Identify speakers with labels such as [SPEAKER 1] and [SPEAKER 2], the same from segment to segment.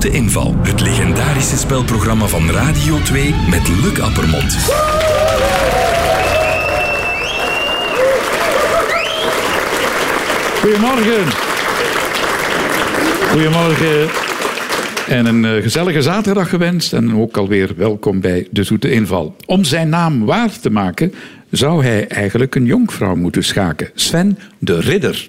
[SPEAKER 1] de inval. Het legendarische spelprogramma van Radio 2 met Luc Appermond.
[SPEAKER 2] Goedemorgen. Goedemorgen. En een eh, gezellige zaterdag gewenst. En ook alweer welkom bij De Zoete Inval. Om zijn naam waar te maken, zou hij eigenlijk een jonkvrouw moeten schaken. Sven de Ridder.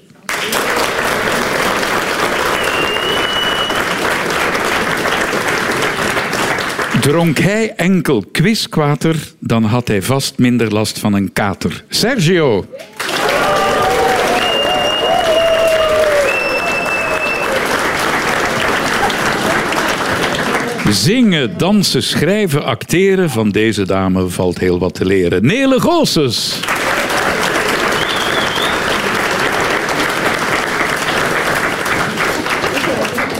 [SPEAKER 2] Dronk hij enkel kwiskwater, dan had hij vast minder last van een kater. Sergio. Zingen, dansen, schrijven, acteren. Van deze dame valt heel wat te leren. Nele Goossens.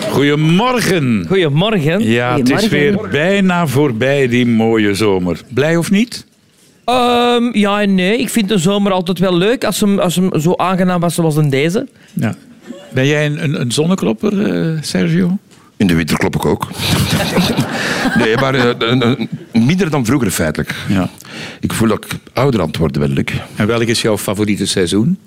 [SPEAKER 2] Goedemorgen.
[SPEAKER 3] Goedemorgen.
[SPEAKER 2] Ja, het is
[SPEAKER 4] Goedemorgen.
[SPEAKER 2] weer bijna voorbij die mooie zomer. Blij of niet?
[SPEAKER 3] Ehm, ja en nee, ik vind de zomer altijd wel leuk als hem, als hem zo aangenaam was zoals in deze.
[SPEAKER 2] Ja. Ben jij een, een, een zonneklopper, eh, Sergio?
[SPEAKER 4] In de winter klop ik ook. nee, maar eh, eh, eh, minder dan vroeger feitelijk.
[SPEAKER 2] Ja.
[SPEAKER 4] Ik voel dat ik ouder aan het worden ben, Luc.
[SPEAKER 2] En welk is jouw favoriete seizoen?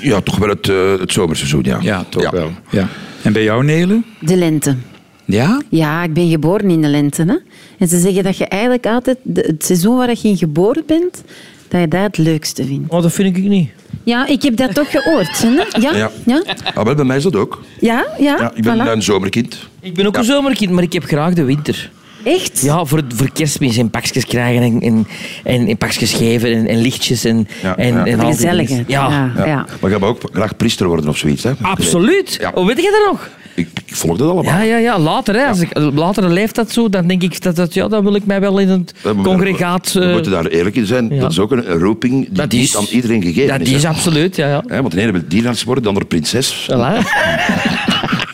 [SPEAKER 4] Ja, toch wel het, eh, het zomerseizoen, ja.
[SPEAKER 2] Ja, toch wel. Ja. En bij jou, Nele?
[SPEAKER 5] De lente.
[SPEAKER 2] Ja?
[SPEAKER 5] Ja, ik ben geboren in de lente. Hè? En ze zeggen dat je eigenlijk altijd de- het seizoen waar je in geboren bent, dat je dat het leukste vindt.
[SPEAKER 3] Oh, dat vind ik niet.
[SPEAKER 5] Ja, ik heb dat toch gehoord. Hè? Ja?
[SPEAKER 4] Ja.
[SPEAKER 5] Ja? Ja?
[SPEAKER 4] Ah, wel, bij mij is dat ook.
[SPEAKER 5] Ja?
[SPEAKER 4] Ja, ik ben
[SPEAKER 5] voilà.
[SPEAKER 4] een zomerkind.
[SPEAKER 3] Ik ben ook een zomerkind, maar ik heb graag de winter.
[SPEAKER 5] Echt?
[SPEAKER 3] Ja, voor, voor kerstmis en pakjes krijgen en, en, en, en pakjes geven en, en lichtjes en,
[SPEAKER 4] Ja,
[SPEAKER 3] en,
[SPEAKER 4] ja.
[SPEAKER 3] en al die
[SPEAKER 5] Gezellige.
[SPEAKER 3] dingen. Ja.
[SPEAKER 5] Ja.
[SPEAKER 4] Maar ik wil ook graag priester worden of zoiets. Hè?
[SPEAKER 3] Absoluut.
[SPEAKER 4] Ja.
[SPEAKER 3] Hoe weet je dat nog?
[SPEAKER 4] Ik, ik volg dat allemaal.
[SPEAKER 3] Ja, ja, ja. Later, hè. Als ik later leeft dat zo, dan denk ik dat, dat ja, dan wil ik mij wel in het
[SPEAKER 4] We moeten-
[SPEAKER 3] congregaat...
[SPEAKER 4] We
[SPEAKER 3] eh,
[SPEAKER 4] moeten daar eerlijk in zijn.
[SPEAKER 3] ja.
[SPEAKER 4] Dat is ook een, een roeping die
[SPEAKER 3] Dat
[SPEAKER 4] niet
[SPEAKER 3] is-
[SPEAKER 4] aan iedereen gegeven
[SPEAKER 3] dat
[SPEAKER 4] is.
[SPEAKER 3] is
[SPEAKER 4] hè.
[SPEAKER 3] absoluut, ja. ja.
[SPEAKER 4] Hè, want de ene wil dienaars worden, de andere prinses.
[SPEAKER 3] Voilà.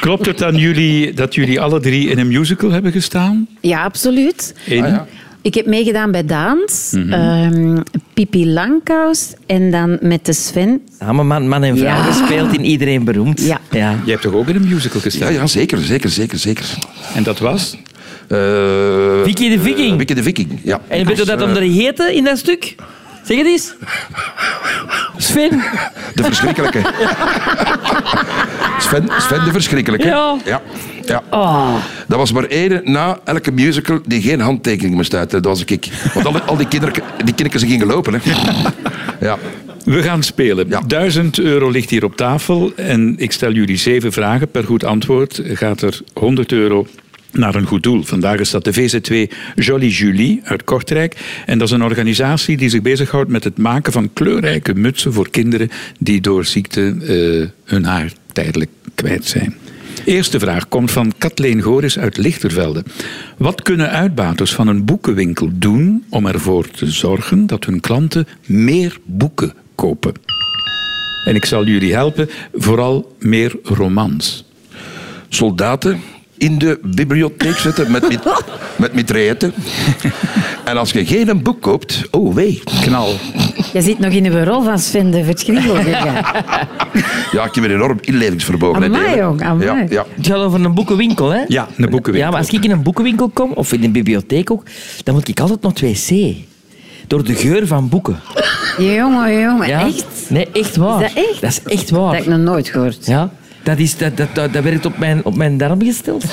[SPEAKER 2] Klopt het aan jullie dat jullie alle drie in een musical hebben gestaan?
[SPEAKER 5] Ja, absoluut.
[SPEAKER 4] Ah,
[SPEAKER 2] In?
[SPEAKER 5] Ik heb meegedaan bij Daans,
[SPEAKER 4] Mhm.
[SPEAKER 5] ehm, Pipi Langkous en dan met de Sven.
[SPEAKER 3] Samen Ah, man, man en vrouw
[SPEAKER 5] Ja.
[SPEAKER 3] gespeeld in Iedereen Beroemd.
[SPEAKER 5] Ja.
[SPEAKER 2] Jij hebt toch ook in een musical gestaan?
[SPEAKER 4] Ja, ja, zeker, zeker, zeker, zeker.
[SPEAKER 2] En dat was?
[SPEAKER 4] Eh,
[SPEAKER 3] Vicky de Viking.
[SPEAKER 4] eh, Vicky de Viking, ja.
[SPEAKER 3] En weet je dat hem er heette in dat stuk? Zeg het eens. Sven.
[SPEAKER 4] De verschrikkelijke. Sven, Sven de verschrikkelijke.
[SPEAKER 3] Ja.
[SPEAKER 4] ja. ja. Dat was maar één na elke musical die geen handtekening moest uit. Dat was ik. Want al, al die kinderen die kindertjes gingen lopen. Hè. Ja.
[SPEAKER 2] We gaan spelen.
[SPEAKER 4] Ja.
[SPEAKER 2] 1000 euro ligt hier op tafel en ik stel jullie zeven vragen. Per goed antwoord gaat er 100 euro naar een goed doel. Vandaag is dat de VZ2 Jolie Julie uit Kortrijk. En dat is een organisatie die zich bezighoudt met het maken van kleurrijke mutsen voor kinderen die door ziekte eh, hun haar tijdelijk kwijt zijn. Eerste vraag komt van Kathleen Goris uit Lichtervelde. Wat kunnen uitbaters van een boekenwinkel doen om ervoor te zorgen dat hun klanten meer boeken kopen? En ik zal jullie helpen, vooral meer romans.
[SPEAKER 4] Soldaten in de bibliotheek zetten met, mit, met mitrailletten. En als je geen boek koopt, oh wee.
[SPEAKER 2] Knal.
[SPEAKER 5] Jij zit nog in de rol van Sven de Verschrikkelijke. ja.
[SPEAKER 4] Ja, ik heb een enorm inlevingsvermogen. hè,
[SPEAKER 5] Amai,
[SPEAKER 4] Dave.
[SPEAKER 5] jong, amai.
[SPEAKER 4] Ja, ja.
[SPEAKER 3] Het gaat over een boekenwinkel, hè?
[SPEAKER 2] Ja, een boekenwinkel.
[SPEAKER 3] Ja, maar als ik in een boekenwinkel kom, of in een bibliotheek ook, dan moet ik altijd naar het wc. Door de geur van boeken.
[SPEAKER 5] jongen, jongen,
[SPEAKER 3] Ja?
[SPEAKER 5] echt?
[SPEAKER 3] Nee, echt waar.
[SPEAKER 5] Is dat echt?
[SPEAKER 3] Dat is echt waar.
[SPEAKER 5] Dat heb ik nog nooit gehoord.
[SPEAKER 3] Ja. Dat, is, dat, dat, dat, dat werd op mijn, op mijn darm gesteld.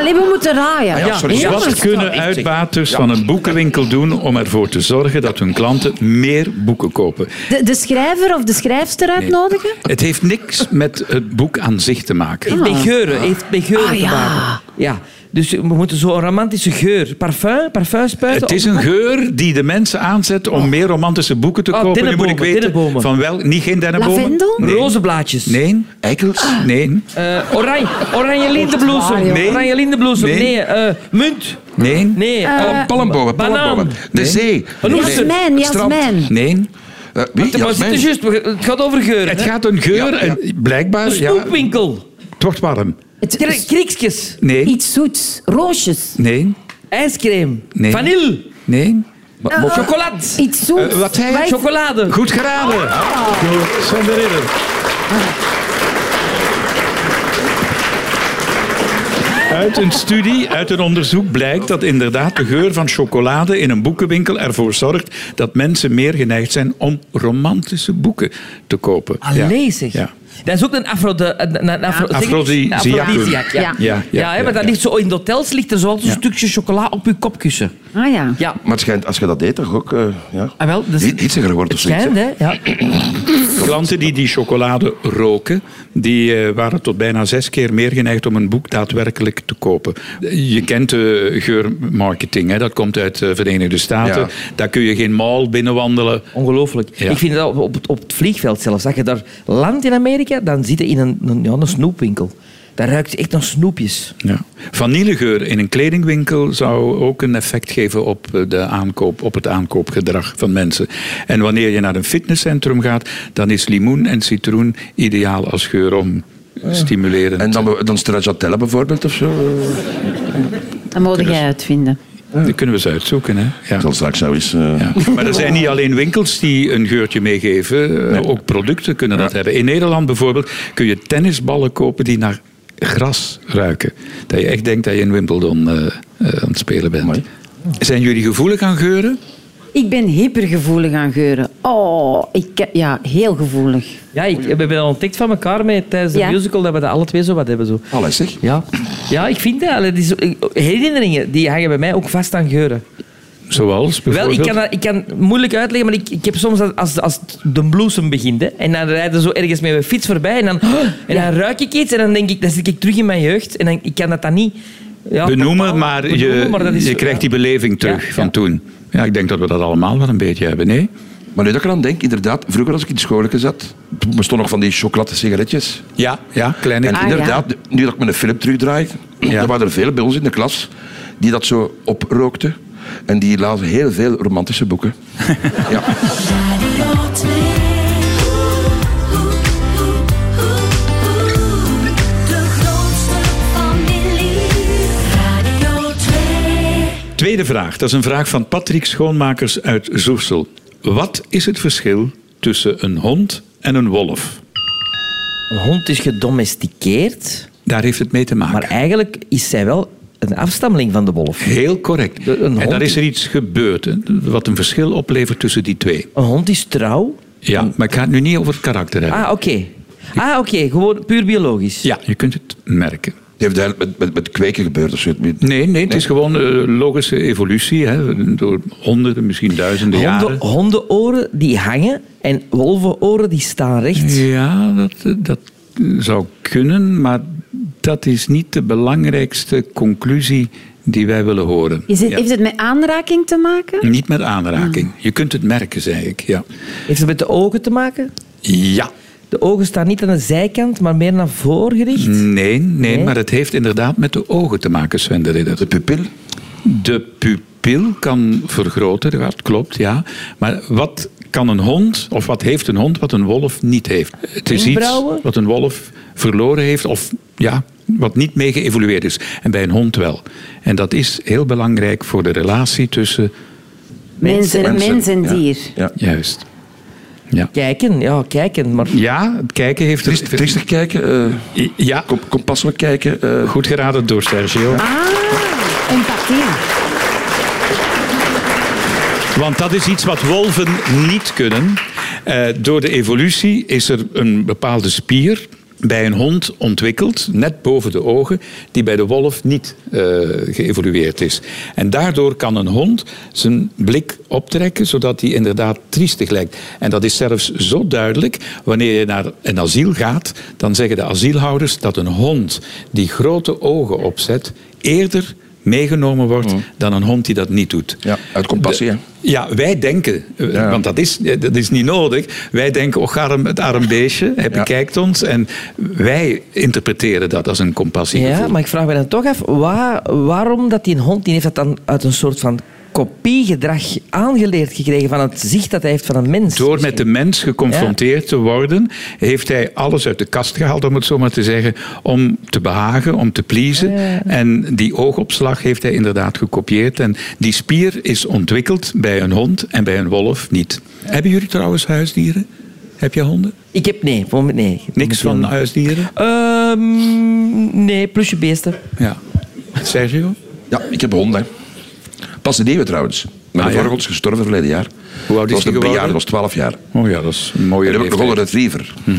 [SPEAKER 5] Allee, we moeten raaien.
[SPEAKER 4] Ah ja, sorry.
[SPEAKER 3] Ja,
[SPEAKER 2] Wat kunnen uitbaters van een boekenwinkel doen om ervoor te zorgen dat hun klanten meer boeken kopen?
[SPEAKER 5] De, de schrijver of de schrijfster uitnodigen?
[SPEAKER 2] Het heeft niks met het boek aan zich te maken.
[SPEAKER 3] Heeft met geuren, heeft met geuren
[SPEAKER 5] Ah,
[SPEAKER 3] te
[SPEAKER 5] ja.
[SPEAKER 3] maken. Ja. Dus we moeten zo'n romantische geur. Parfum, parfum spuiten.
[SPEAKER 2] Het
[SPEAKER 3] op
[SPEAKER 2] is
[SPEAKER 3] de
[SPEAKER 2] een
[SPEAKER 3] boek.
[SPEAKER 2] geur die de mensen aanzet om meer romantische boeken te
[SPEAKER 3] Oh,
[SPEAKER 2] kopen. Nu moet ik
[SPEAKER 3] dennenbomen,
[SPEAKER 2] weten
[SPEAKER 3] dennenbomen.
[SPEAKER 2] van wel, niet geen dennenbomen.
[SPEAKER 5] Lavendel?
[SPEAKER 2] Nee.
[SPEAKER 3] Rozenblaadjes.
[SPEAKER 2] Nee.
[SPEAKER 4] Eikels?
[SPEAKER 2] Nee.
[SPEAKER 3] Eh, oranje, oranje
[SPEAKER 5] waar,
[SPEAKER 3] lindebloesem.
[SPEAKER 5] joh.
[SPEAKER 2] Nee.
[SPEAKER 3] Oranje lindebloesem.
[SPEAKER 2] Nee.
[SPEAKER 3] Nee. eh, munt.
[SPEAKER 2] Nee.
[SPEAKER 3] Nee. eh,
[SPEAKER 4] Palmbomen, palmbomen.
[SPEAKER 3] Banaan.
[SPEAKER 4] De zee.
[SPEAKER 3] Een
[SPEAKER 4] Nee.
[SPEAKER 3] oester.
[SPEAKER 5] Jasmijn,
[SPEAKER 4] Strand.
[SPEAKER 5] jasmijn.
[SPEAKER 2] Nee.
[SPEAKER 4] Eh,
[SPEAKER 3] Maar
[SPEAKER 4] wie?
[SPEAKER 3] zit
[SPEAKER 4] Jasmijn?
[SPEAKER 3] er juist, we- het gaat over geur.
[SPEAKER 2] Het
[SPEAKER 3] hè?
[SPEAKER 2] gaat een geur,
[SPEAKER 4] Ja, ja.
[SPEAKER 2] en blijkbaar. Ja,
[SPEAKER 3] Snoepwinkel.
[SPEAKER 2] het wordt warm.
[SPEAKER 5] Het,
[SPEAKER 3] Kri- Kriekjes.
[SPEAKER 2] Nee.
[SPEAKER 5] Iets zoets. Roosjes.
[SPEAKER 2] Nee.
[SPEAKER 3] Ijscrème.
[SPEAKER 2] Nee.
[SPEAKER 3] Vanille.
[SPEAKER 2] Nee.
[SPEAKER 4] Maar- maar-
[SPEAKER 3] Chocolade.
[SPEAKER 5] Iets zoets.
[SPEAKER 2] Eh, wat zei je?
[SPEAKER 5] Eh, oh. Wij-
[SPEAKER 3] Chocolade.
[SPEAKER 2] Goed geraden.
[SPEAKER 3] Ah.
[SPEAKER 2] Door Sven de Ridder. Uit een studie, uit een onderzoek blijkt dat inderdaad de geur van chocolade in een boekenwinkel ervoor zorgt dat mensen meer geneigd zijn om romantische boeken te kopen. Ja.
[SPEAKER 3] Allee, zeg.
[SPEAKER 2] Ja.
[SPEAKER 3] Dat is ook een afrode... Een, een afro, zeg ik?
[SPEAKER 2] Afrodisiacum.
[SPEAKER 3] Een afrodisiac, ja.
[SPEAKER 5] Ja.
[SPEAKER 3] Ja,
[SPEAKER 2] Ja, ja,
[SPEAKER 3] hè, maar dat
[SPEAKER 2] ja.
[SPEAKER 3] ligt zo, in de hotels ligt er zo'n
[SPEAKER 2] Ja.
[SPEAKER 3] stukje chocola op je kopkussen.
[SPEAKER 5] Ah ja.
[SPEAKER 3] Ja.
[SPEAKER 4] Maar het schijnt, als je dat eet, toch ook... eh ja.
[SPEAKER 3] Ah, wel, dus-
[SPEAKER 4] Hi- Hitziger wordt
[SPEAKER 3] Het
[SPEAKER 4] of zoiets.
[SPEAKER 3] schijnt,
[SPEAKER 4] hè?
[SPEAKER 3] hè. Ja.
[SPEAKER 2] Klanten die die chocolade roken, die eh, waren tot bijna zes keer meer geneigd om een boek daadwerkelijk te kopen. Je kent de geurmarketing, hè? dat komt uit de Verenigde Staten.
[SPEAKER 4] Ja.
[SPEAKER 2] Daar kun je geen mall binnenwandelen.
[SPEAKER 3] Ongelooflijk.
[SPEAKER 2] Ja.
[SPEAKER 3] Ik vind dat op, op, het- op het vliegveld zelfs. Als je daar landt in Amerika, dan zit je in een, een, ja, een snoepwinkel. Daar ruikt het echt naar snoepjes.
[SPEAKER 2] Ja. Vanillegeur in een kledingwinkel zou ook een effect geven op, eh, de aankoop, op het aankoopgedrag van mensen. En wanneer je naar een fitnesscentrum gaat, dan is limoen en citroen ideaal als geur om stimulerend.
[SPEAKER 4] En dan, be- dan stracciatella bijvoorbeeld of zo. eh.
[SPEAKER 5] Dat mogen jij uitvinden.
[SPEAKER 2] Dat kunnen we ze uitzoeken. Hè? Ja.
[SPEAKER 4] Ik zal straks nou eens... eh,
[SPEAKER 2] Maar er zijn niet alleen winkels die een geurtje meegeven, eh, ook producten kunnen dat hebben. In Nederland bijvoorbeeld kun je tennisballen kopen die naar gras ruiken. Dat je echt denkt dat je in Wimbledon eh, eh, aan het spelen bent.
[SPEAKER 4] Mooi.
[SPEAKER 2] Zijn jullie gevoelig aan geuren?
[SPEAKER 5] Ik ben hypergevoelig aan geuren. Oh, ik, ja, heel gevoelig.
[SPEAKER 3] Ja, ik, we hebben dat ontdekt van elkaar mee, tijdens de
[SPEAKER 5] Ja.
[SPEAKER 3] musical, dat we dat alle twee zo wat hebben. Zo.
[SPEAKER 4] Alles, Ah, zeg.
[SPEAKER 3] Ja. ja, ik vind dat. Allee, dat is- herinneringen die hangen bij mij ook vast aan geuren.
[SPEAKER 2] Zoals
[SPEAKER 3] Wel,
[SPEAKER 2] bijvoorbeeld?
[SPEAKER 3] ik kan, dat- ik kan moeilijk uitleggen, maar ik, ik heb soms dat als, als de bloesem begint hè, en dan rijden zo ergens met mijn fiets voorbij en dan,
[SPEAKER 2] Oh,
[SPEAKER 3] en dan ruik ik iets en dan denk ik, dan zit ik terug in mijn jeugd en dan, ik kan dat dan niet ja, bepaald
[SPEAKER 2] Benoemen, maar je,
[SPEAKER 3] benoemen, maar dat is-
[SPEAKER 2] je krijgt die beleving terug
[SPEAKER 3] Ja,
[SPEAKER 2] van
[SPEAKER 3] ja.
[SPEAKER 2] toen. Ja, ik denk dat we dat allemaal wel een beetje hebben, nee?
[SPEAKER 4] Maar nu dat ik eraan denk, inderdaad, vroeger als ik in de schoolke zat, bestond nog van die chocolade sigaretjes.
[SPEAKER 2] Ja, ja kleine...
[SPEAKER 4] En
[SPEAKER 5] Ah,
[SPEAKER 4] inderdaad, nu dat ik met een film terugdraai,
[SPEAKER 2] Ja.
[SPEAKER 4] er waren er veel bij ons in de klas die dat zo oprookten. En die lazen heel veel romantische boeken. ja.
[SPEAKER 6] Radio 2. De grootste familie. Radio 2.
[SPEAKER 2] Tweede vraag, dat is een vraag van Patrick Schoonmakers uit Zoersel. Wat is het verschil tussen een hond en een wolf?
[SPEAKER 3] Een hond is gedomesticeerd,
[SPEAKER 2] Daar heeft het mee te maken.
[SPEAKER 3] maar eigenlijk is zij wel een afstammeling van de wolf.
[SPEAKER 2] Heel correct.
[SPEAKER 3] De- een
[SPEAKER 2] en
[SPEAKER 3] hond-
[SPEAKER 2] daar is er iets gebeurd, hè, wat een verschil oplevert tussen die twee.
[SPEAKER 3] Een hond is trouw.
[SPEAKER 2] Ja, maar ik ga het nu niet over het karakter hebben.
[SPEAKER 3] Ah, oké. Ah, oké. Gewoon puur biologisch.
[SPEAKER 2] Ja, je kunt het merken.
[SPEAKER 4] Die heeft eigenlijk met, met, met kweken gebeurd of zo. Met-
[SPEAKER 2] Nee, nee, het is gewoon eh, logische evolutie. Hè, door honderden, misschien duizenden
[SPEAKER 3] Honden,
[SPEAKER 2] jaren.
[SPEAKER 3] hondenoren die hangen en wolvenoren die staan recht.
[SPEAKER 2] Ja, dat, eh, dat zou kunnen, maar dat is niet de belangrijkste conclusie die wij willen horen.
[SPEAKER 5] Is het,
[SPEAKER 2] Ja.
[SPEAKER 5] Heeft het met aanraking te maken?
[SPEAKER 2] Niet met aanraking. Je kunt het merken, zei ik. Ja.
[SPEAKER 3] Heeft het met de ogen te maken?
[SPEAKER 2] ja.
[SPEAKER 3] De ogen staan niet aan de zijkant, maar meer naar voren gericht.
[SPEAKER 2] Nee, nee,
[SPEAKER 3] Nee?
[SPEAKER 2] maar het heeft inderdaad met de ogen te maken, Sven de Ridder.
[SPEAKER 4] De pupil.
[SPEAKER 2] De pupil kan vergroten, dat klopt, ja. Maar wat kan een hond, of wat heeft een hond wat een wolf niet heeft? Het is iets
[SPEAKER 3] Wenkbrauwen?
[SPEAKER 2] wat een wolf verloren heeft, of ja, wat niet mee geëvolueerd is. En bij een hond wel. En dat is heel belangrijk voor de relatie tussen...
[SPEAKER 5] Mensen, mens,
[SPEAKER 4] Mensen,
[SPEAKER 5] en
[SPEAKER 4] ja.
[SPEAKER 5] dier.
[SPEAKER 4] Ja.
[SPEAKER 2] Juist. Ja,
[SPEAKER 3] Kijken, ja, kijken. Maar
[SPEAKER 2] ja het kijken heeft... er-
[SPEAKER 4] Triest- Triestig kijken, eh,
[SPEAKER 2] Ja,
[SPEAKER 4] kom- compasselijk kijken. eh,
[SPEAKER 2] goed geraden door Sergio.
[SPEAKER 5] Ah, empathie.
[SPEAKER 2] Want dat is iets wat wolven niet kunnen. Eh, door de evolutie is er een bepaalde spier bij een hond ontwikkeld, net boven de ogen, die bij de wolf niet eh, geëvolueerd is. En daardoor kan een hond zijn blik optrekken, zodat hij inderdaad triestig lijkt. En dat is zelfs zo duidelijk, wanneer je naar een asiel gaat, dan zeggen de asielhouders dat een hond die grote ogen opzet, eerder meegenomen wordt dan een hond die dat niet doet.
[SPEAKER 4] Mm. ja, uit compassie, hè.
[SPEAKER 2] Ja, wij denken, eh,
[SPEAKER 4] Ja.
[SPEAKER 2] want dat is, eh, dat is niet nodig. Wij denken, och, arm, het arm beestje, hij bekijkt ons. En wij interpreteren dat als een compassiegevoel.
[SPEAKER 3] Ja, maar ik vraag me dan toch af, wa- waarom dat die een hond, die heeft dat dan uit een soort van kopiegedrag aangeleerd gekregen van het zicht dat hij heeft van een mens.
[SPEAKER 2] Door met de mens geconfronteerd te worden, heeft hij alles uit de kast gehaald, om het zo maar te zeggen, om te behagen, om te pleasen. En die oogopslag heeft hij inderdaad gekopieerd. En die spier is ontwikkeld bij een hond en bij een wolf niet. Hebben jullie trouwens huisdieren? Heb jij honden?
[SPEAKER 3] Ik heb, nee, voor me- nee.
[SPEAKER 2] Niks van huisdieren?
[SPEAKER 3] Ehm, nee, plusje beesten.
[SPEAKER 2] Ja. Sergio?
[SPEAKER 4] Ja, ik heb een hond, hè. Pas een nieuwe trouwens.
[SPEAKER 2] Ah,
[SPEAKER 4] Mijn
[SPEAKER 2] ja.
[SPEAKER 4] vorige hond is gestorven verleden jaar.
[SPEAKER 2] Hoe oud is
[SPEAKER 4] was
[SPEAKER 2] die
[SPEAKER 4] een
[SPEAKER 2] geworden?
[SPEAKER 4] bejaarde, was 12 jaar.
[SPEAKER 2] Oh ja, dat is een mooie
[SPEAKER 4] En dan heb ik nog een
[SPEAKER 2] leeftijd. Mhm.
[SPEAKER 4] retriever. Ja,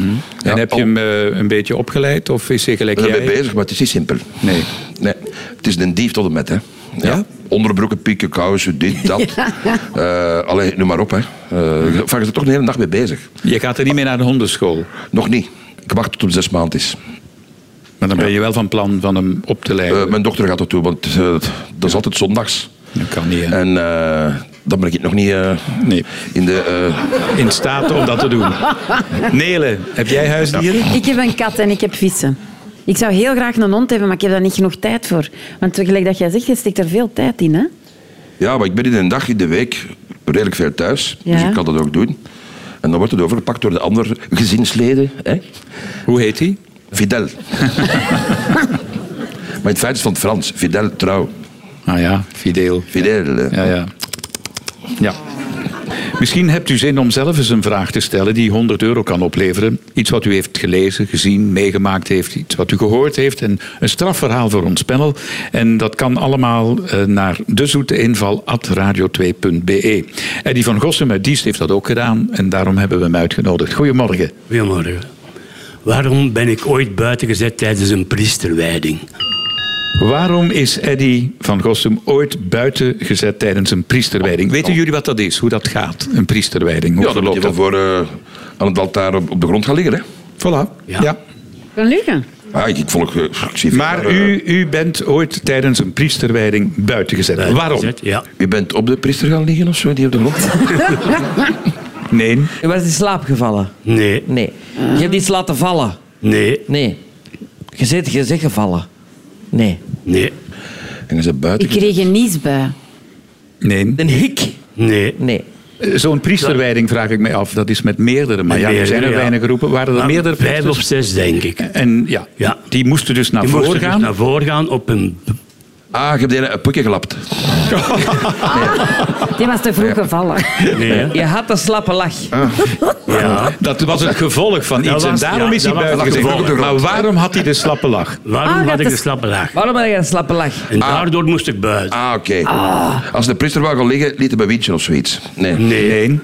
[SPEAKER 4] oh,
[SPEAKER 2] En heb je
[SPEAKER 4] al-
[SPEAKER 2] hem eh, een beetje opgeleid of is hij gelijk
[SPEAKER 4] We zijn
[SPEAKER 2] jij?
[SPEAKER 4] mee bezig, maar het is niet simpel.
[SPEAKER 2] Nee.
[SPEAKER 4] nee. Het is een dief tot en met, hè. Ja. Onderbroeken, pieken, kousen, dit, dat. Eh allee, noem maar op, hè.
[SPEAKER 2] Mhm.
[SPEAKER 4] Eh van, je bent er toch een hele dag mee bezig.
[SPEAKER 2] Je gaat er niet mee naar de hondenschool.
[SPEAKER 4] Nog niet. Ik wacht tot het zes maanden is.
[SPEAKER 2] Maar dan ben je wel van plan van hem op te leiden.
[SPEAKER 4] Eh, mijn dochter gaat dat doen, want eh, dat is altijd zondags.
[SPEAKER 2] dat kan niet. hè.
[SPEAKER 4] En eh, dan ben ik nog niet eh,
[SPEAKER 2] Nee.
[SPEAKER 4] in de... eh,
[SPEAKER 2] In staat om dat te doen. Nele, heb jij huisdieren?
[SPEAKER 5] Ik heb een kat en ik heb vissen. Ik zou heel graag een hond hebben, maar ik heb daar niet genoeg tijd voor. Want gelijk dat jij zegt, je steekt er veel tijd in, hè?
[SPEAKER 4] Ja, maar ik ben in een dag in de week redelijk veel thuis.
[SPEAKER 5] Ja.
[SPEAKER 4] Dus ik kan dat ook doen. En dan wordt het overgepakt door de andere gezinsleden. Hè?
[SPEAKER 2] Hoe heet hij?
[SPEAKER 4] Fidel. maar in het feit is van het Frans. Fidel, trouw.
[SPEAKER 2] Ah ja, Fideel.
[SPEAKER 4] Fidel. eh. hè.
[SPEAKER 2] Ja, ja. ja. Misschien hebt u zin om zelf eens een vraag te stellen die 100 euro kan opleveren. Iets wat u heeft gelezen, gezien, meegemaakt heeft, iets wat u gehoord heeft. En een strafverhaal voor ons panel. En dat kan allemaal eh, naar dezoeteinval.radio2.be. Eddie van Gossem uit Diest heeft dat ook gedaan en daarom hebben we hem uitgenodigd. Goedemorgen.
[SPEAKER 7] Goedemorgen. Waarom ben ik ooit buiten gezet tijdens een priesterwijding?
[SPEAKER 2] Waarom is Eddy van Gossum ooit buiten gezet tijdens een priesterwijding? Weten jullie wat dat is? Hoe dat gaat, een priesterwijding? Hoe
[SPEAKER 4] Oh. Ja, dan moet je
[SPEAKER 2] verloopt
[SPEAKER 4] wel voor eh, aan het altaar op, op de grond gaan liggen. Hè?
[SPEAKER 2] Voilà. Ja.
[SPEAKER 7] Ja.
[SPEAKER 5] Kan lukken.
[SPEAKER 4] Ah, ik, ik volg... eh, ik zie
[SPEAKER 2] Maar
[SPEAKER 4] eh,
[SPEAKER 2] u, u bent ooit tijdens een priesterwijding buiten gezet. Waarom?
[SPEAKER 7] Eh, Gezet, Ja.
[SPEAKER 4] U bent op de priester gaan liggen of zo, die op de grond?
[SPEAKER 2] Nee.
[SPEAKER 3] Je was in slaap gevallen.
[SPEAKER 7] Nee,
[SPEAKER 3] Nee. Je hebt iets laten vallen.
[SPEAKER 7] nee,
[SPEAKER 3] Nee. Je zit, je zit gevallen. Nee.
[SPEAKER 7] nee,
[SPEAKER 4] en je zit buiten.
[SPEAKER 5] Ik kreeg een niesbui.
[SPEAKER 2] nee.
[SPEAKER 3] Een hik.
[SPEAKER 7] nee.
[SPEAKER 3] Nee.
[SPEAKER 2] Eh, Zo'n priesterwijding vraag ik mij af. Dat is met meerdere. Maar ja,
[SPEAKER 7] Met
[SPEAKER 2] er
[SPEAKER 7] meerdere,
[SPEAKER 2] zijn er
[SPEAKER 7] ja. Nou,
[SPEAKER 2] weinig groepen. Waren er
[SPEAKER 7] Maar
[SPEAKER 2] meerdere
[SPEAKER 7] Vijf
[SPEAKER 2] priesters?
[SPEAKER 7] of zes, denk ik. Je
[SPEAKER 2] En ja,
[SPEAKER 7] Ja.
[SPEAKER 2] die moesten dus naar
[SPEAKER 7] mocht
[SPEAKER 2] voren
[SPEAKER 7] dus
[SPEAKER 2] gaan.
[SPEAKER 7] naar voren gaan op een...
[SPEAKER 4] Ah, je hebt die een pukje gelapt.
[SPEAKER 5] Die was te vroeg gevallen.
[SPEAKER 7] Nee, hè?
[SPEAKER 3] Je had een slappe lach.
[SPEAKER 7] ja.
[SPEAKER 2] Dat was het gevolg van iets.
[SPEAKER 7] Dat was-
[SPEAKER 2] en daarom
[SPEAKER 7] ja,
[SPEAKER 2] is hij
[SPEAKER 7] dat was
[SPEAKER 2] buiten
[SPEAKER 7] het
[SPEAKER 2] gezet.
[SPEAKER 7] gevolg.
[SPEAKER 2] Maar waarom had hij de slappe lach?
[SPEAKER 7] Waarom
[SPEAKER 5] Ah,
[SPEAKER 7] had
[SPEAKER 5] dat
[SPEAKER 7] ik de
[SPEAKER 5] is-
[SPEAKER 7] slappe laag?
[SPEAKER 3] Waarom had je een slappe lach?
[SPEAKER 7] En daardoor moest ik buiten.
[SPEAKER 4] Ah, oké. Als de priester wou gaan liggen, liet hij bij windje of zoiets. Nee.
[SPEAKER 7] Nee,
[SPEAKER 2] Nee.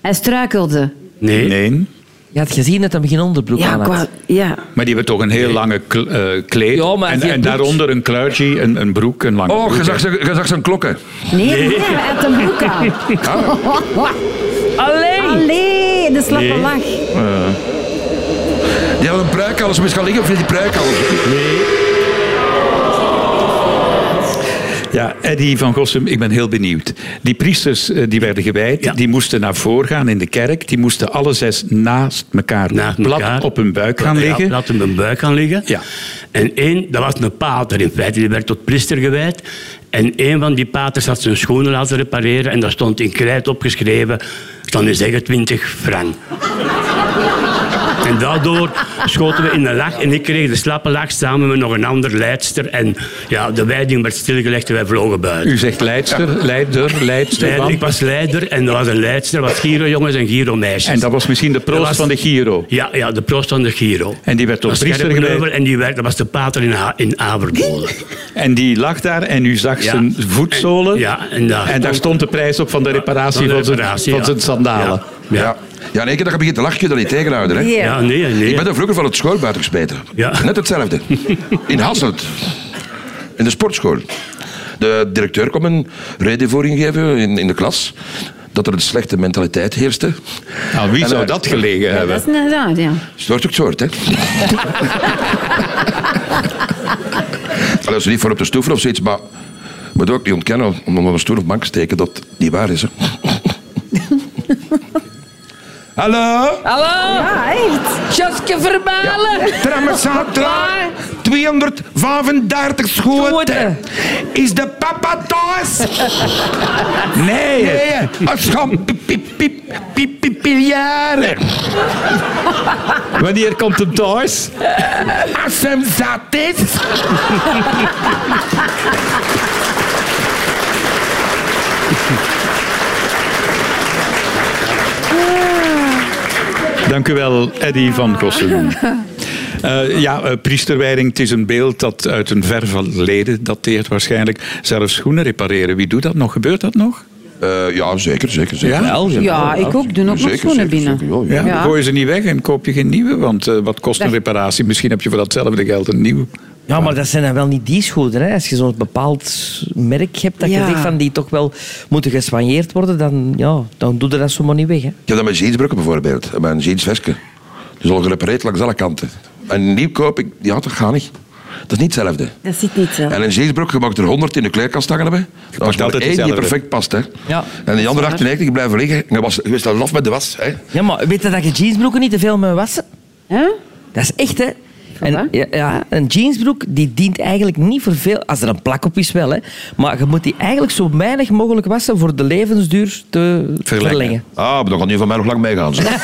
[SPEAKER 5] Hij struikelde.
[SPEAKER 7] nee,
[SPEAKER 2] Nee.
[SPEAKER 3] Je had gezien dat hij geen onderbroek
[SPEAKER 5] Ja,
[SPEAKER 3] aan had.
[SPEAKER 5] qua, ja.
[SPEAKER 2] Maar die hebben toch een heel lange kl- eh, kleed.
[SPEAKER 3] Ja, maar
[SPEAKER 2] en
[SPEAKER 3] die
[SPEAKER 2] en
[SPEAKER 3] broek-
[SPEAKER 2] daaronder een kluitje, een, een broek, een lange
[SPEAKER 4] Oh,
[SPEAKER 2] broek.
[SPEAKER 4] je zag zijn- je zag zijn klokken.
[SPEAKER 5] Nee, nee, hij had een broek aan.
[SPEAKER 3] Allee!
[SPEAKER 5] Allee, de slappe lach.
[SPEAKER 4] Die hadden een pruik alles moest gaan liggen of niet die pruik alles?
[SPEAKER 2] Ja, Eddy van Gossum, ik ben heel benieuwd. Die priesters eh, die werden gewijd,
[SPEAKER 7] Ja.
[SPEAKER 2] die moesten naar voren gaan in de kerk. Die moesten alle zes naast elkaar
[SPEAKER 7] Naast
[SPEAKER 2] plat
[SPEAKER 7] elkaar.
[SPEAKER 2] op hun buik gaan
[SPEAKER 7] Ja,
[SPEAKER 2] liggen.
[SPEAKER 7] plat op mijn buik gaan liggen.
[SPEAKER 2] Ja.
[SPEAKER 7] En één, dat was een pater in feite, die werd tot priester gewijd. En één van die paters had zijn schoenen laten repareren en daar stond in krijt opgeschreven, ik kan nu zeggen 20 frank. En daardoor schoten we in de lach en ik kreeg de slappe lach samen met nog een ander leidster. En ja, de wijding werd stilgelegd en wij vlogen buiten.
[SPEAKER 2] U zegt leidster, leider, leidster.
[SPEAKER 7] Leider,
[SPEAKER 2] want-
[SPEAKER 7] ik was leider en dat was een leidster, was Giro jongens en Giro meisjes.
[SPEAKER 2] En dat was misschien de proost
[SPEAKER 7] Dat was-
[SPEAKER 2] van de Giro.
[SPEAKER 7] Ja, ja, de proost van de Giro.
[SPEAKER 2] En die werd tot
[SPEAKER 7] Dat was
[SPEAKER 2] priester
[SPEAKER 7] Gerrit
[SPEAKER 2] gewijd.
[SPEAKER 7] Kneuvel En die werd, dat was de pater in, ha in Averbolen.
[SPEAKER 2] En die lag daar en u zag
[SPEAKER 7] Ja.
[SPEAKER 2] zijn voetzolen.
[SPEAKER 7] En- ja, en daar stond-
[SPEAKER 2] stond de prijs op van de reparatie,
[SPEAKER 7] Van de
[SPEAKER 2] van, zijn-
[SPEAKER 7] reparatie,
[SPEAKER 2] van
[SPEAKER 7] ja.
[SPEAKER 2] zijn sandalen.
[SPEAKER 7] Ja.
[SPEAKER 4] Ja. Ja, in één keer dat je begint te lachen, kun je dat niet tegenhouden. Hè?
[SPEAKER 7] Ja, nee, nee.
[SPEAKER 4] Ik ben er vroeger van het school buiten gesmeten.
[SPEAKER 7] Ja.
[SPEAKER 4] Net hetzelfde. In Hasselt. In de sportschool. De directeur kwam een redenvoering geven in, in de klas. Dat er een slechte mentaliteit heerste.
[SPEAKER 2] Nou, wie
[SPEAKER 4] En,
[SPEAKER 2] zou
[SPEAKER 4] eh,
[SPEAKER 2] dat gelegen
[SPEAKER 5] Ja,
[SPEAKER 2] hebben?
[SPEAKER 5] dat is inderdaad, ja.
[SPEAKER 4] Soort ook soort, hè? Allee, Als je niet voor op de stoeven of zoiets, maar... Je moet ook niet ontkennen om onder een stoel of bank te steken dat het niet waar is. Hè? Hallo?
[SPEAKER 3] Hallo!
[SPEAKER 5] Ah, echt?
[SPEAKER 3] Joske Verbalen!
[SPEAKER 4] Trammesatra, 235 schoten.
[SPEAKER 3] Schoten.
[SPEAKER 4] Is de papa thuis? Nee. Nee, een scham. piep, piep, piep, piep, piep, piljaren.
[SPEAKER 2] Wanneer komt hem thuis?
[SPEAKER 4] Als hem zat is.
[SPEAKER 2] Dank u wel, Eddy van Gossen. Eh, ja, eh, priesterwijding, het is een beeld dat uit een ver verleden dateert waarschijnlijk. Zelfs schoenen repareren, wie doet dat nog? Gebeurt dat nog?
[SPEAKER 4] Eh, ja, zeker, zeker. zeker.
[SPEAKER 2] Wel,
[SPEAKER 5] Ja, ik ook. Doe nog
[SPEAKER 4] Zeker,
[SPEAKER 5] mijn schoenen
[SPEAKER 4] zeker,
[SPEAKER 5] binnen.
[SPEAKER 4] zeker. Oh, Ja,
[SPEAKER 2] Ja,
[SPEAKER 4] ja.
[SPEAKER 2] dan gooi je ze niet weg en koop je geen nieuwe, want eh, wat kost een
[SPEAKER 5] Dat-
[SPEAKER 2] reparatie? Misschien heb je voor datzelfde geld een nieuwe.
[SPEAKER 3] Ja, maar dat zijn dan wel niet die schoenen. Hè. Als je zo'n bepaald merk hebt dat
[SPEAKER 5] Ja.
[SPEAKER 3] je zegt van die toch wel moeten geswanjeerd worden, dan, ja, dan doe je dat zomaar niet weg. Hè.
[SPEAKER 4] Ik heb dat met jeansbroeken bijvoorbeeld. En mijn jeansvestje. Die is al gerepareerd langs alle kanten. En nieuw koop ik... Ja, dat gaat niet. Dat is niet hetzelfde.
[SPEAKER 5] Dat zit niet zo.
[SPEAKER 4] En een jeansbroek, je mag er 100 in de kleerkast hangen hebben. Dat is maar
[SPEAKER 2] altijd
[SPEAKER 4] één die
[SPEAKER 2] dezelfde.
[SPEAKER 4] perfect past. Hè.
[SPEAKER 3] Ja.
[SPEAKER 4] En die andere 98 blijven liggen. En je was, je was dan af met de was. Hè.
[SPEAKER 3] Ja, maar weet je dat je jeansbroeken niet te veel moet wassen?
[SPEAKER 5] Hè?
[SPEAKER 3] Dat is echt, hè? En,
[SPEAKER 5] Voilà.
[SPEAKER 3] ja, ja, een jeansbroek die dient eigenlijk niet voor veel, als er een plak op is wel, hè. Maar je moet die eigenlijk zo weinig mogelijk wassen voor de levensduur te verlengen.
[SPEAKER 4] Ah, maar dan gaat die van mij nog lang meegaan. zeg.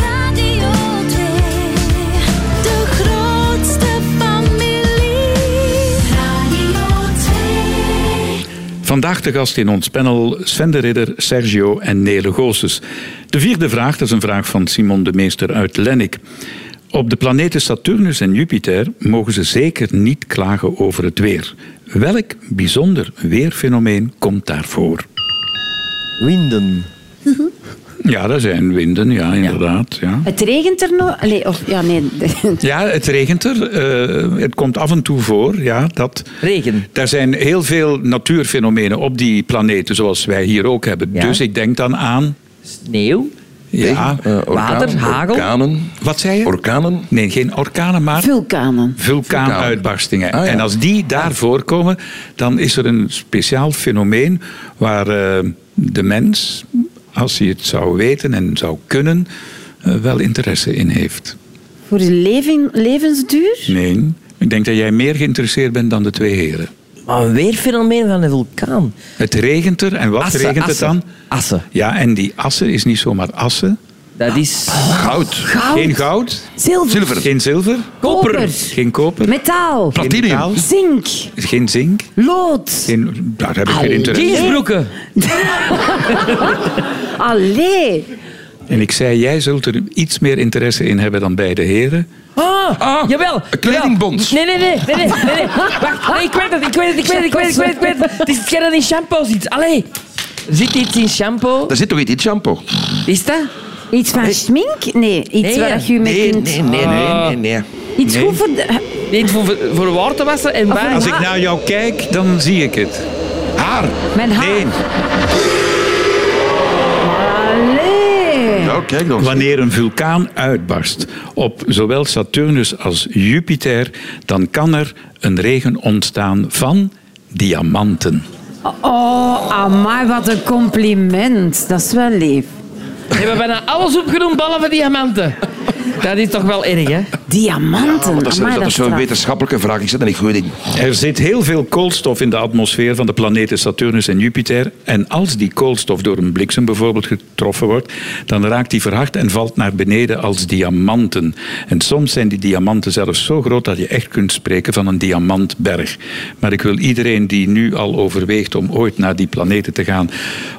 [SPEAKER 6] Radio 2, de grootste familie. Radio 2.
[SPEAKER 2] Vandaag de gast in ons panel Sven de Ridder, Sergio en Nele Goossens. De vierde vraag, dat is een vraag van Simon de Meester uit Lennik. Op de planeten Saturnus en Jupiter mogen ze zeker niet klagen over het weer. Welk bijzonder weerfenomeen komt daarvoor?
[SPEAKER 3] Winden.
[SPEAKER 2] Ja, dat zijn winden, ja, inderdaad. Ja.
[SPEAKER 5] Het regent er nog? Allee, of, ja, nee.
[SPEAKER 2] Ja, het regent er. eh, het komt af en toe voor. Ja, dat,
[SPEAKER 3] Regen.
[SPEAKER 2] Er zijn heel veel natuurfenomenen op die planeten, zoals wij hier ook hebben.
[SPEAKER 3] Ja.
[SPEAKER 2] Dus ik denk dan aan.
[SPEAKER 3] Sneeuw.
[SPEAKER 2] Ja,
[SPEAKER 4] Eh, orkaan-
[SPEAKER 3] Water, hagel.
[SPEAKER 4] Orkanen.
[SPEAKER 2] wat zei je?
[SPEAKER 4] Orkanen.
[SPEAKER 2] nee, geen orkanen,
[SPEAKER 5] Ah.
[SPEAKER 2] maar
[SPEAKER 5] Vulkanen.
[SPEAKER 2] vulkaanuitbarstingen.
[SPEAKER 4] Ah, ja.
[SPEAKER 2] En als die daar voorkomen, dan is er een speciaal fenomeen waar eh, de mens, als hij het zou weten en zou kunnen, eh, wel interesse in heeft.
[SPEAKER 5] Voor de leven, levensduur?
[SPEAKER 2] Nee, ik denk dat jij meer geïnteresseerd bent dan de twee heren.
[SPEAKER 3] Maar een weerfenomeen van een vulkaan.
[SPEAKER 2] Het regent er en wat
[SPEAKER 3] Assen,
[SPEAKER 2] regent het
[SPEAKER 3] assen,
[SPEAKER 2] dan?
[SPEAKER 3] Assen.
[SPEAKER 2] Ja, en die assen is niet zomaar assen.
[SPEAKER 3] Dat is...
[SPEAKER 2] Ah.
[SPEAKER 4] Goud.
[SPEAKER 2] Geen goud,
[SPEAKER 5] Zilver.
[SPEAKER 4] Zilver.
[SPEAKER 2] geen zilver,
[SPEAKER 5] Koper.
[SPEAKER 2] geen koper,
[SPEAKER 5] Metaal.
[SPEAKER 2] geen metaal,
[SPEAKER 4] Platinum.
[SPEAKER 5] Zink.
[SPEAKER 2] geen zink.
[SPEAKER 5] Lood.
[SPEAKER 2] Geen, daar heb ik geen interesse in.
[SPEAKER 3] Jeansbroeken.
[SPEAKER 5] Allee.
[SPEAKER 2] En ik zei, jij zult er iets meer interesse in hebben dan beide heren.
[SPEAKER 3] Ah,
[SPEAKER 4] Ah,
[SPEAKER 3] jawel.
[SPEAKER 4] een kledingbond.
[SPEAKER 3] jawel. Nee, nee, nee. nee, nee, nee, nee. Wacht, nee, ik weet het, ik weet het, ik weet het, ik weet het, ik weet het. Ik weet het. het is hetgeen dat in shampoo zit. Allee. Er zit iets in shampoo.
[SPEAKER 4] Daar zit toch iets in shampoo?
[SPEAKER 3] Is dat?
[SPEAKER 5] Iets van schmink? Nee, iets
[SPEAKER 3] Nee,
[SPEAKER 5] waar
[SPEAKER 3] ja.
[SPEAKER 5] je mee kunt...
[SPEAKER 4] nee, nee.
[SPEAKER 5] Iets goed voor de...
[SPEAKER 3] Ah. Nee, voor, voor waar te wassen en waar.
[SPEAKER 2] Als ik naar jou kijk, dan zie ik het.
[SPEAKER 4] Haar.
[SPEAKER 5] Mijn haar.
[SPEAKER 2] Nee,
[SPEAKER 5] Allee.
[SPEAKER 4] Ja, kijk dan.
[SPEAKER 2] wanneer een vulkaan uitbarst op zowel Saturnus als Jupiter, dan kan er een regen ontstaan van diamanten.
[SPEAKER 5] Oh, amai, wat een compliment. Dat is wel lief.
[SPEAKER 3] We hebben bijna alles opgenoemd, behalve diamanten. Dat is toch wel erg, hè?
[SPEAKER 5] Diamanten.
[SPEAKER 4] Dat is,
[SPEAKER 5] amai,
[SPEAKER 4] dat is zo'n
[SPEAKER 5] straf.
[SPEAKER 4] wetenschappelijke vraag. Ik zit er niet goed in.
[SPEAKER 2] Er zit heel veel koolstof in de atmosfeer van de planeten Saturnus en Jupiter. En als die koolstof door een bliksem bijvoorbeeld getroffen wordt, dan raakt die verhard en valt naar beneden als diamanten. En soms zijn die diamanten zelfs zo groot dat je echt kunt spreken van een diamantberg. Maar ik wil iedereen die nu al overweegt om ooit naar die planeten te gaan,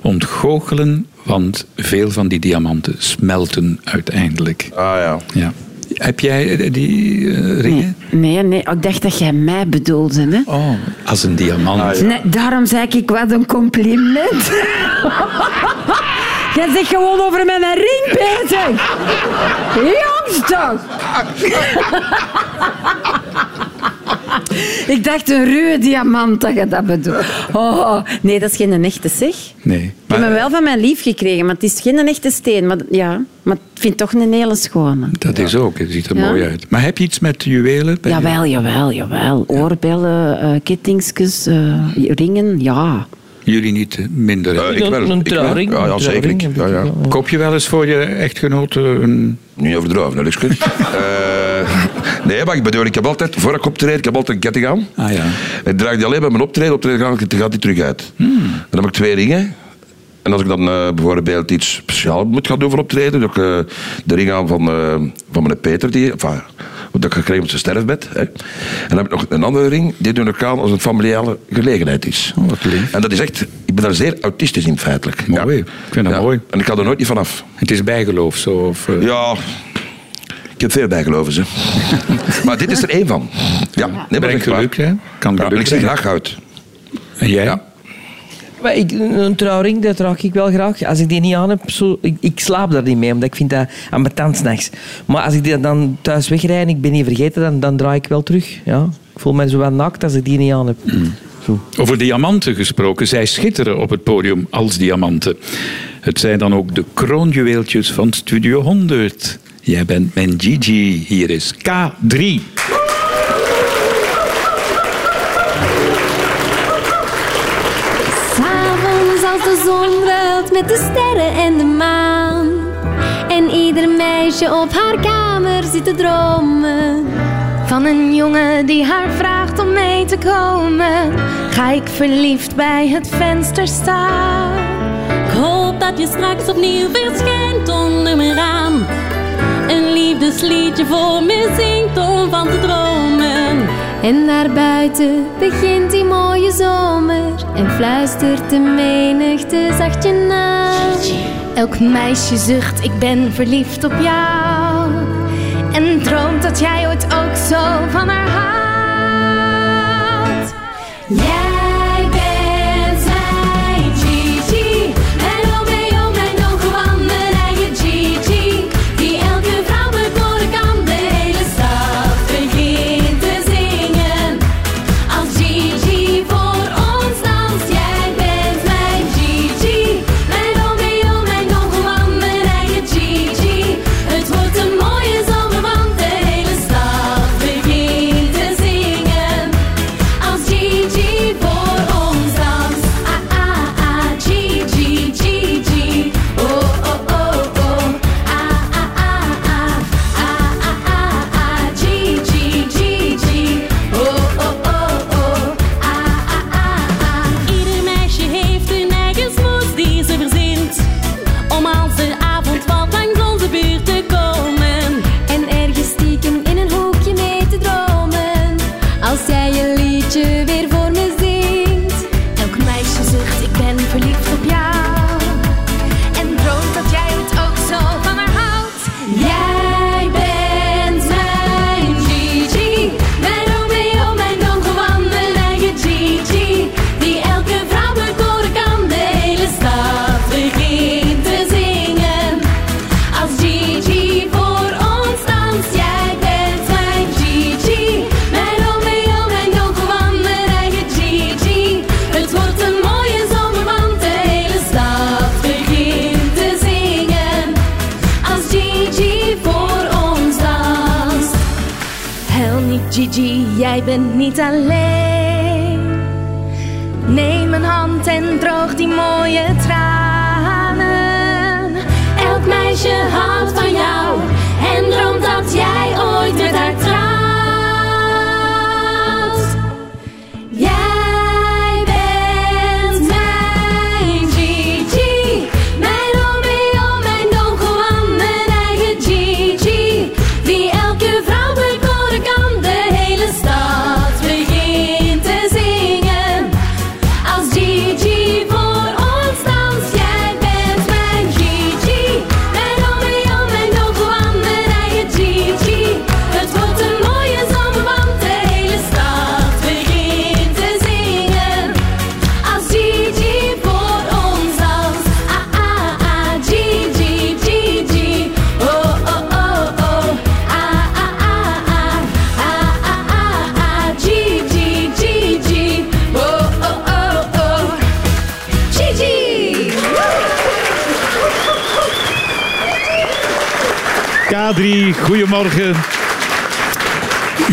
[SPEAKER 2] ontgoochelen, want veel van die diamanten smelten uiteindelijk.
[SPEAKER 4] Ah ja.
[SPEAKER 2] Ja. Heb jij eh, die eh, ringen?
[SPEAKER 5] Nee, nee, ik dacht dat jij mij bedoelde. Hè?
[SPEAKER 2] Oh, als een diamant.
[SPEAKER 5] Nee, daarom zei ik, wat een compliment. jij zegt gewoon over mijn ring bezig. Jongens toch. ik dacht een ruwe diamant dat je dat bedoelt. Oh, nee, dat is geen echte zeg.
[SPEAKER 2] Nee.
[SPEAKER 5] Ik heb
[SPEAKER 2] Maar
[SPEAKER 5] hem wel van mijn lief gekregen, maar het is geen echte steen. Maar, ja, maar ik vind het toch een hele schone.
[SPEAKER 2] dat is ook, het ziet er
[SPEAKER 5] Ja.
[SPEAKER 2] mooi uit. Maar heb je iets met juwelen? Ben je-
[SPEAKER 5] Jawel, jawel, jawel. Oorbellen, eh kettingsjes, eh, ringen, ja.
[SPEAKER 2] Jullie niet eh, minder. hè?
[SPEAKER 4] Eh, ik wel.
[SPEAKER 3] Een
[SPEAKER 4] Ik wel.
[SPEAKER 3] trouwring,
[SPEAKER 4] Ja, ja
[SPEAKER 3] een
[SPEAKER 4] zeker.
[SPEAKER 3] trouwring
[SPEAKER 4] ik. Ja,
[SPEAKER 3] heb ik
[SPEAKER 4] ja.
[SPEAKER 2] Koop je wel eens voor je echtgenoot eh, een...
[SPEAKER 4] Niet overdreven, dat is goed. Eh, nee, maar ik bedoel, ik heb altijd, voor ik optreed, ik heb altijd een ketting aan.
[SPEAKER 2] Ah, ja.
[SPEAKER 4] Ik draag die alleen bij mijn optreden, optreden gaat, gaat die terug uit.
[SPEAKER 2] Hmm.
[SPEAKER 4] Dan heb ik twee ringen. En als ik dan eh, bijvoorbeeld iets speciaals moet gaan doen voor optreden, dan heb ik eh, de ring aan van, eh, van meneer Peter, die, enfin, Want dat gekregen op zijn sterfbed. Hè. En dan heb ik nog een andere ring. Die doe ik aan als een familiale gelegenheid is.
[SPEAKER 2] Oh, wat lief.
[SPEAKER 4] En dat is echt... Ik ben daar zeer autistisch in, feitelijk.
[SPEAKER 2] Mooi. Ik vind dat mooi.
[SPEAKER 4] En ik had er nooit niet vanaf.
[SPEAKER 2] Het is bijgeloof zo. Of, eh,
[SPEAKER 4] Ja... Ik heb veel bijgeloven, ze. maar dit is er één van. Ja, nee, maar
[SPEAKER 2] Brengt
[SPEAKER 4] echt waar.
[SPEAKER 2] geluk, hè? Kan
[SPEAKER 4] Ja, en
[SPEAKER 2] geluk
[SPEAKER 4] ik zeg
[SPEAKER 2] brengen.
[SPEAKER 4] graag uit.
[SPEAKER 2] En jij?
[SPEAKER 4] Ja.
[SPEAKER 3] Maar ik, een trouwring, dat draag ik wel graag. Als ik die niet aan heb, zo, ik, ik slaap daar niet mee, omdat ik vind dat ambetant s'nachts. Maar als ik die dan thuis wegrijd en ik ben niet vergeten, dan, dan draai ik wel terug. Ja. Ik voel me zo wat naakt als ik die niet aan heb. Zo.
[SPEAKER 2] Over diamanten gesproken. Zij schitteren op het podium als diamanten. Het zijn dan ook de kroonjuweeltjes van Studio 100. Jij bent mijn Gigi. Hier is K3.
[SPEAKER 6] S'avonds als de zon ruilt met de sterren en de maan. En ieder meisje op haar kamer zit te dromen.
[SPEAKER 8] Van een jongen die haar vraagt om mee te komen. Ga ik verliefd bij het venster staan.
[SPEAKER 6] Ik hoop dat je straks opnieuw verschijnt onder mijn raam. Een liefdesliedje voor me zingt om van te dromen. En daarbuiten begint die mooie zomer. En fluistert de menigte zacht je naam.
[SPEAKER 8] Elk meisje zucht, ik ben verliefd op jou. En droomt dat jij ooit ook zo van haar houdt.
[SPEAKER 6] Jij bent zijn Gigi. En al ben je om mijn ogen wandelen Gigi. Die elke vrouw bekoren kan, de hele stad begint te zingen. Als Gigi voor ons danst, jij bent mijn Gigi. Mijn Romeo, mijn Don Juan, mijn eigen Gigi. Het wordt een mooie zomer, want de hele stad begint te zingen. Als Gigi voor ons danst. Ah, ah, ah, Gigi, Gigi. Oh, oh, oh, oh. Ah, ah, ah, ah. Ah, ah, ah, ah. Gigi, Gigi. Oh, oh, oh, oh. Ah, ah, ah, ah. Ieder meisje heeft een eigen smoes die ze verzint. Om als de avond valt langs onze buurt te komen. En ergens stiekem in een hoekje mee te dromen. Als jij je liedje weer voor me zingt.
[SPEAKER 8] Elk meisje zucht, ik ben verliefd op jou. En droomt dat jij het ook zo van haar houdt.
[SPEAKER 6] Jij bent mijn Gigi. Mijn Romeo, mijn Don Juan, mijn eigen Gigi. Die elke vrouw bekoren kan, de hele stad begint te zingen. Als Gigi voor ons danst, jij bent mijn Gigi. Mijn Romeo, mijn Don Juan, mijn eigen Gigi. Het wordt een mooie zomer, want de hele stad begint te zingen. Als Gigi voor ons danst.
[SPEAKER 8] Huil niet, Gigi, jij bent niet alleen. Neem een hand en droog die mooie tranen.
[SPEAKER 6] Elk meisje houdt van jou en droomt dat jij ooit met haar trouwt. Jij bent mijn Gigi, mijn Romeo, mijn Don Juan, mijn eigen Gigi. Die elke vrouw bekoren kan, de hele stad begint te zingen. Als Gigi voor ons danst, jij bent mijn Gigi. Mijn Romeo, mijn Don Juan, mijn eigen Gigi. Het wordt een mooie zomer, want de hele stad begint te zingen. Als Gigi voor ons danst, ah ah ah, Gigi, Gigi. Oh oh oh oh, ah ah ah ah, ah ah ah ah, Gigi, Gigi. Oh oh oh oh, Gigi.
[SPEAKER 2] K3, goedemorgen.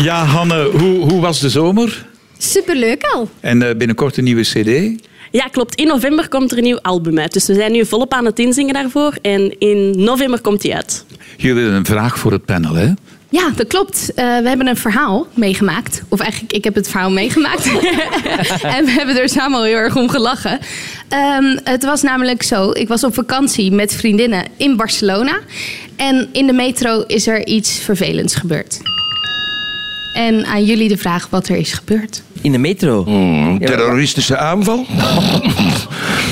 [SPEAKER 2] Ja, Hanne, hoe, hoe was de zomer?
[SPEAKER 9] Superleuk al.
[SPEAKER 2] En eh, binnenkort een nieuwe CD.
[SPEAKER 9] Ja, klopt. In november komt er een nieuw album uit. Dus we zijn nu volop aan het inzingen daarvoor. En in november komt die uit.
[SPEAKER 2] Jullie hebben een vraag voor het panel, hè?
[SPEAKER 9] Ja, dat klopt. Eh, we hebben een verhaal meegemaakt. Of eigenlijk, ik heb het verhaal meegemaakt. en we hebben er samen al heel erg om gelachen. Ehm, het was namelijk zo, ik was op vakantie met vriendinnen in Barcelona. En in de metro is er iets vervelends gebeurd.
[SPEAKER 10] En aan jullie de vraag wat er is gebeurd.
[SPEAKER 3] In de metro.
[SPEAKER 2] Mm.
[SPEAKER 4] Een Hmm, terroristische aanval?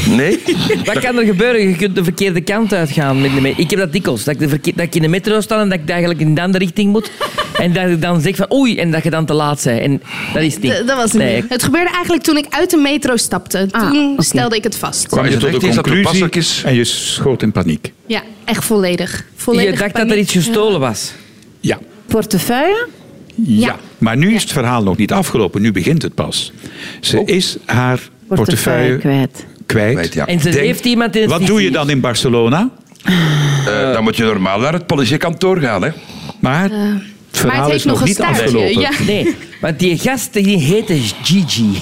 [SPEAKER 4] nee?
[SPEAKER 3] Wat kan er gebeuren? Je kunt de verkeerde kant uitgaan. Met de me- ik heb dat dikwijls. Dat ik, de verkeer- dat ik in de metro sta en dat ik eigenlijk in de andere richting moet. En dat ik dan zeg van oei, en dat je dan te laat bent. En dat is het niet.
[SPEAKER 10] D- dat was het
[SPEAKER 3] Nee,
[SPEAKER 10] niet. Het gebeurde eigenlijk toen ik uit de metro stapte.
[SPEAKER 5] Ah,
[SPEAKER 10] toen
[SPEAKER 5] oké.
[SPEAKER 10] stelde ik het vast.
[SPEAKER 4] Kwam
[SPEAKER 2] Kwam
[SPEAKER 4] je
[SPEAKER 2] je
[SPEAKER 4] tot
[SPEAKER 2] tot
[SPEAKER 4] echt
[SPEAKER 2] de
[SPEAKER 4] eens dat het
[SPEAKER 2] conclusie
[SPEAKER 4] toepasselijk is?
[SPEAKER 2] en je schoot in paniek.
[SPEAKER 10] Ja, echt volledig. volledig
[SPEAKER 3] Je dacht dat
[SPEAKER 10] paniek.
[SPEAKER 3] er iets gestolen was.
[SPEAKER 2] Ja.
[SPEAKER 5] Portefeuille?
[SPEAKER 2] Ja. Maar nu is het verhaal nog niet afgelopen. Nu begint het pas. Ze is haar portefeuille
[SPEAKER 5] Portefeuille kwijt.
[SPEAKER 2] kwijt.
[SPEAKER 4] Weet, ja.
[SPEAKER 3] En ze
[SPEAKER 2] Denk-
[SPEAKER 3] heeft iemand in het
[SPEAKER 2] Wat doe je dan in Barcelona?
[SPEAKER 4] Eh, dan moet je normaal naar het politiekantoor gaan. Hè?
[SPEAKER 2] Maar het verhaal
[SPEAKER 10] heeft
[SPEAKER 2] is nog,
[SPEAKER 10] nog een
[SPEAKER 2] niet
[SPEAKER 10] staartje,
[SPEAKER 2] afgelopen.
[SPEAKER 10] ja.
[SPEAKER 3] Nee, want die gast die heette Gigi.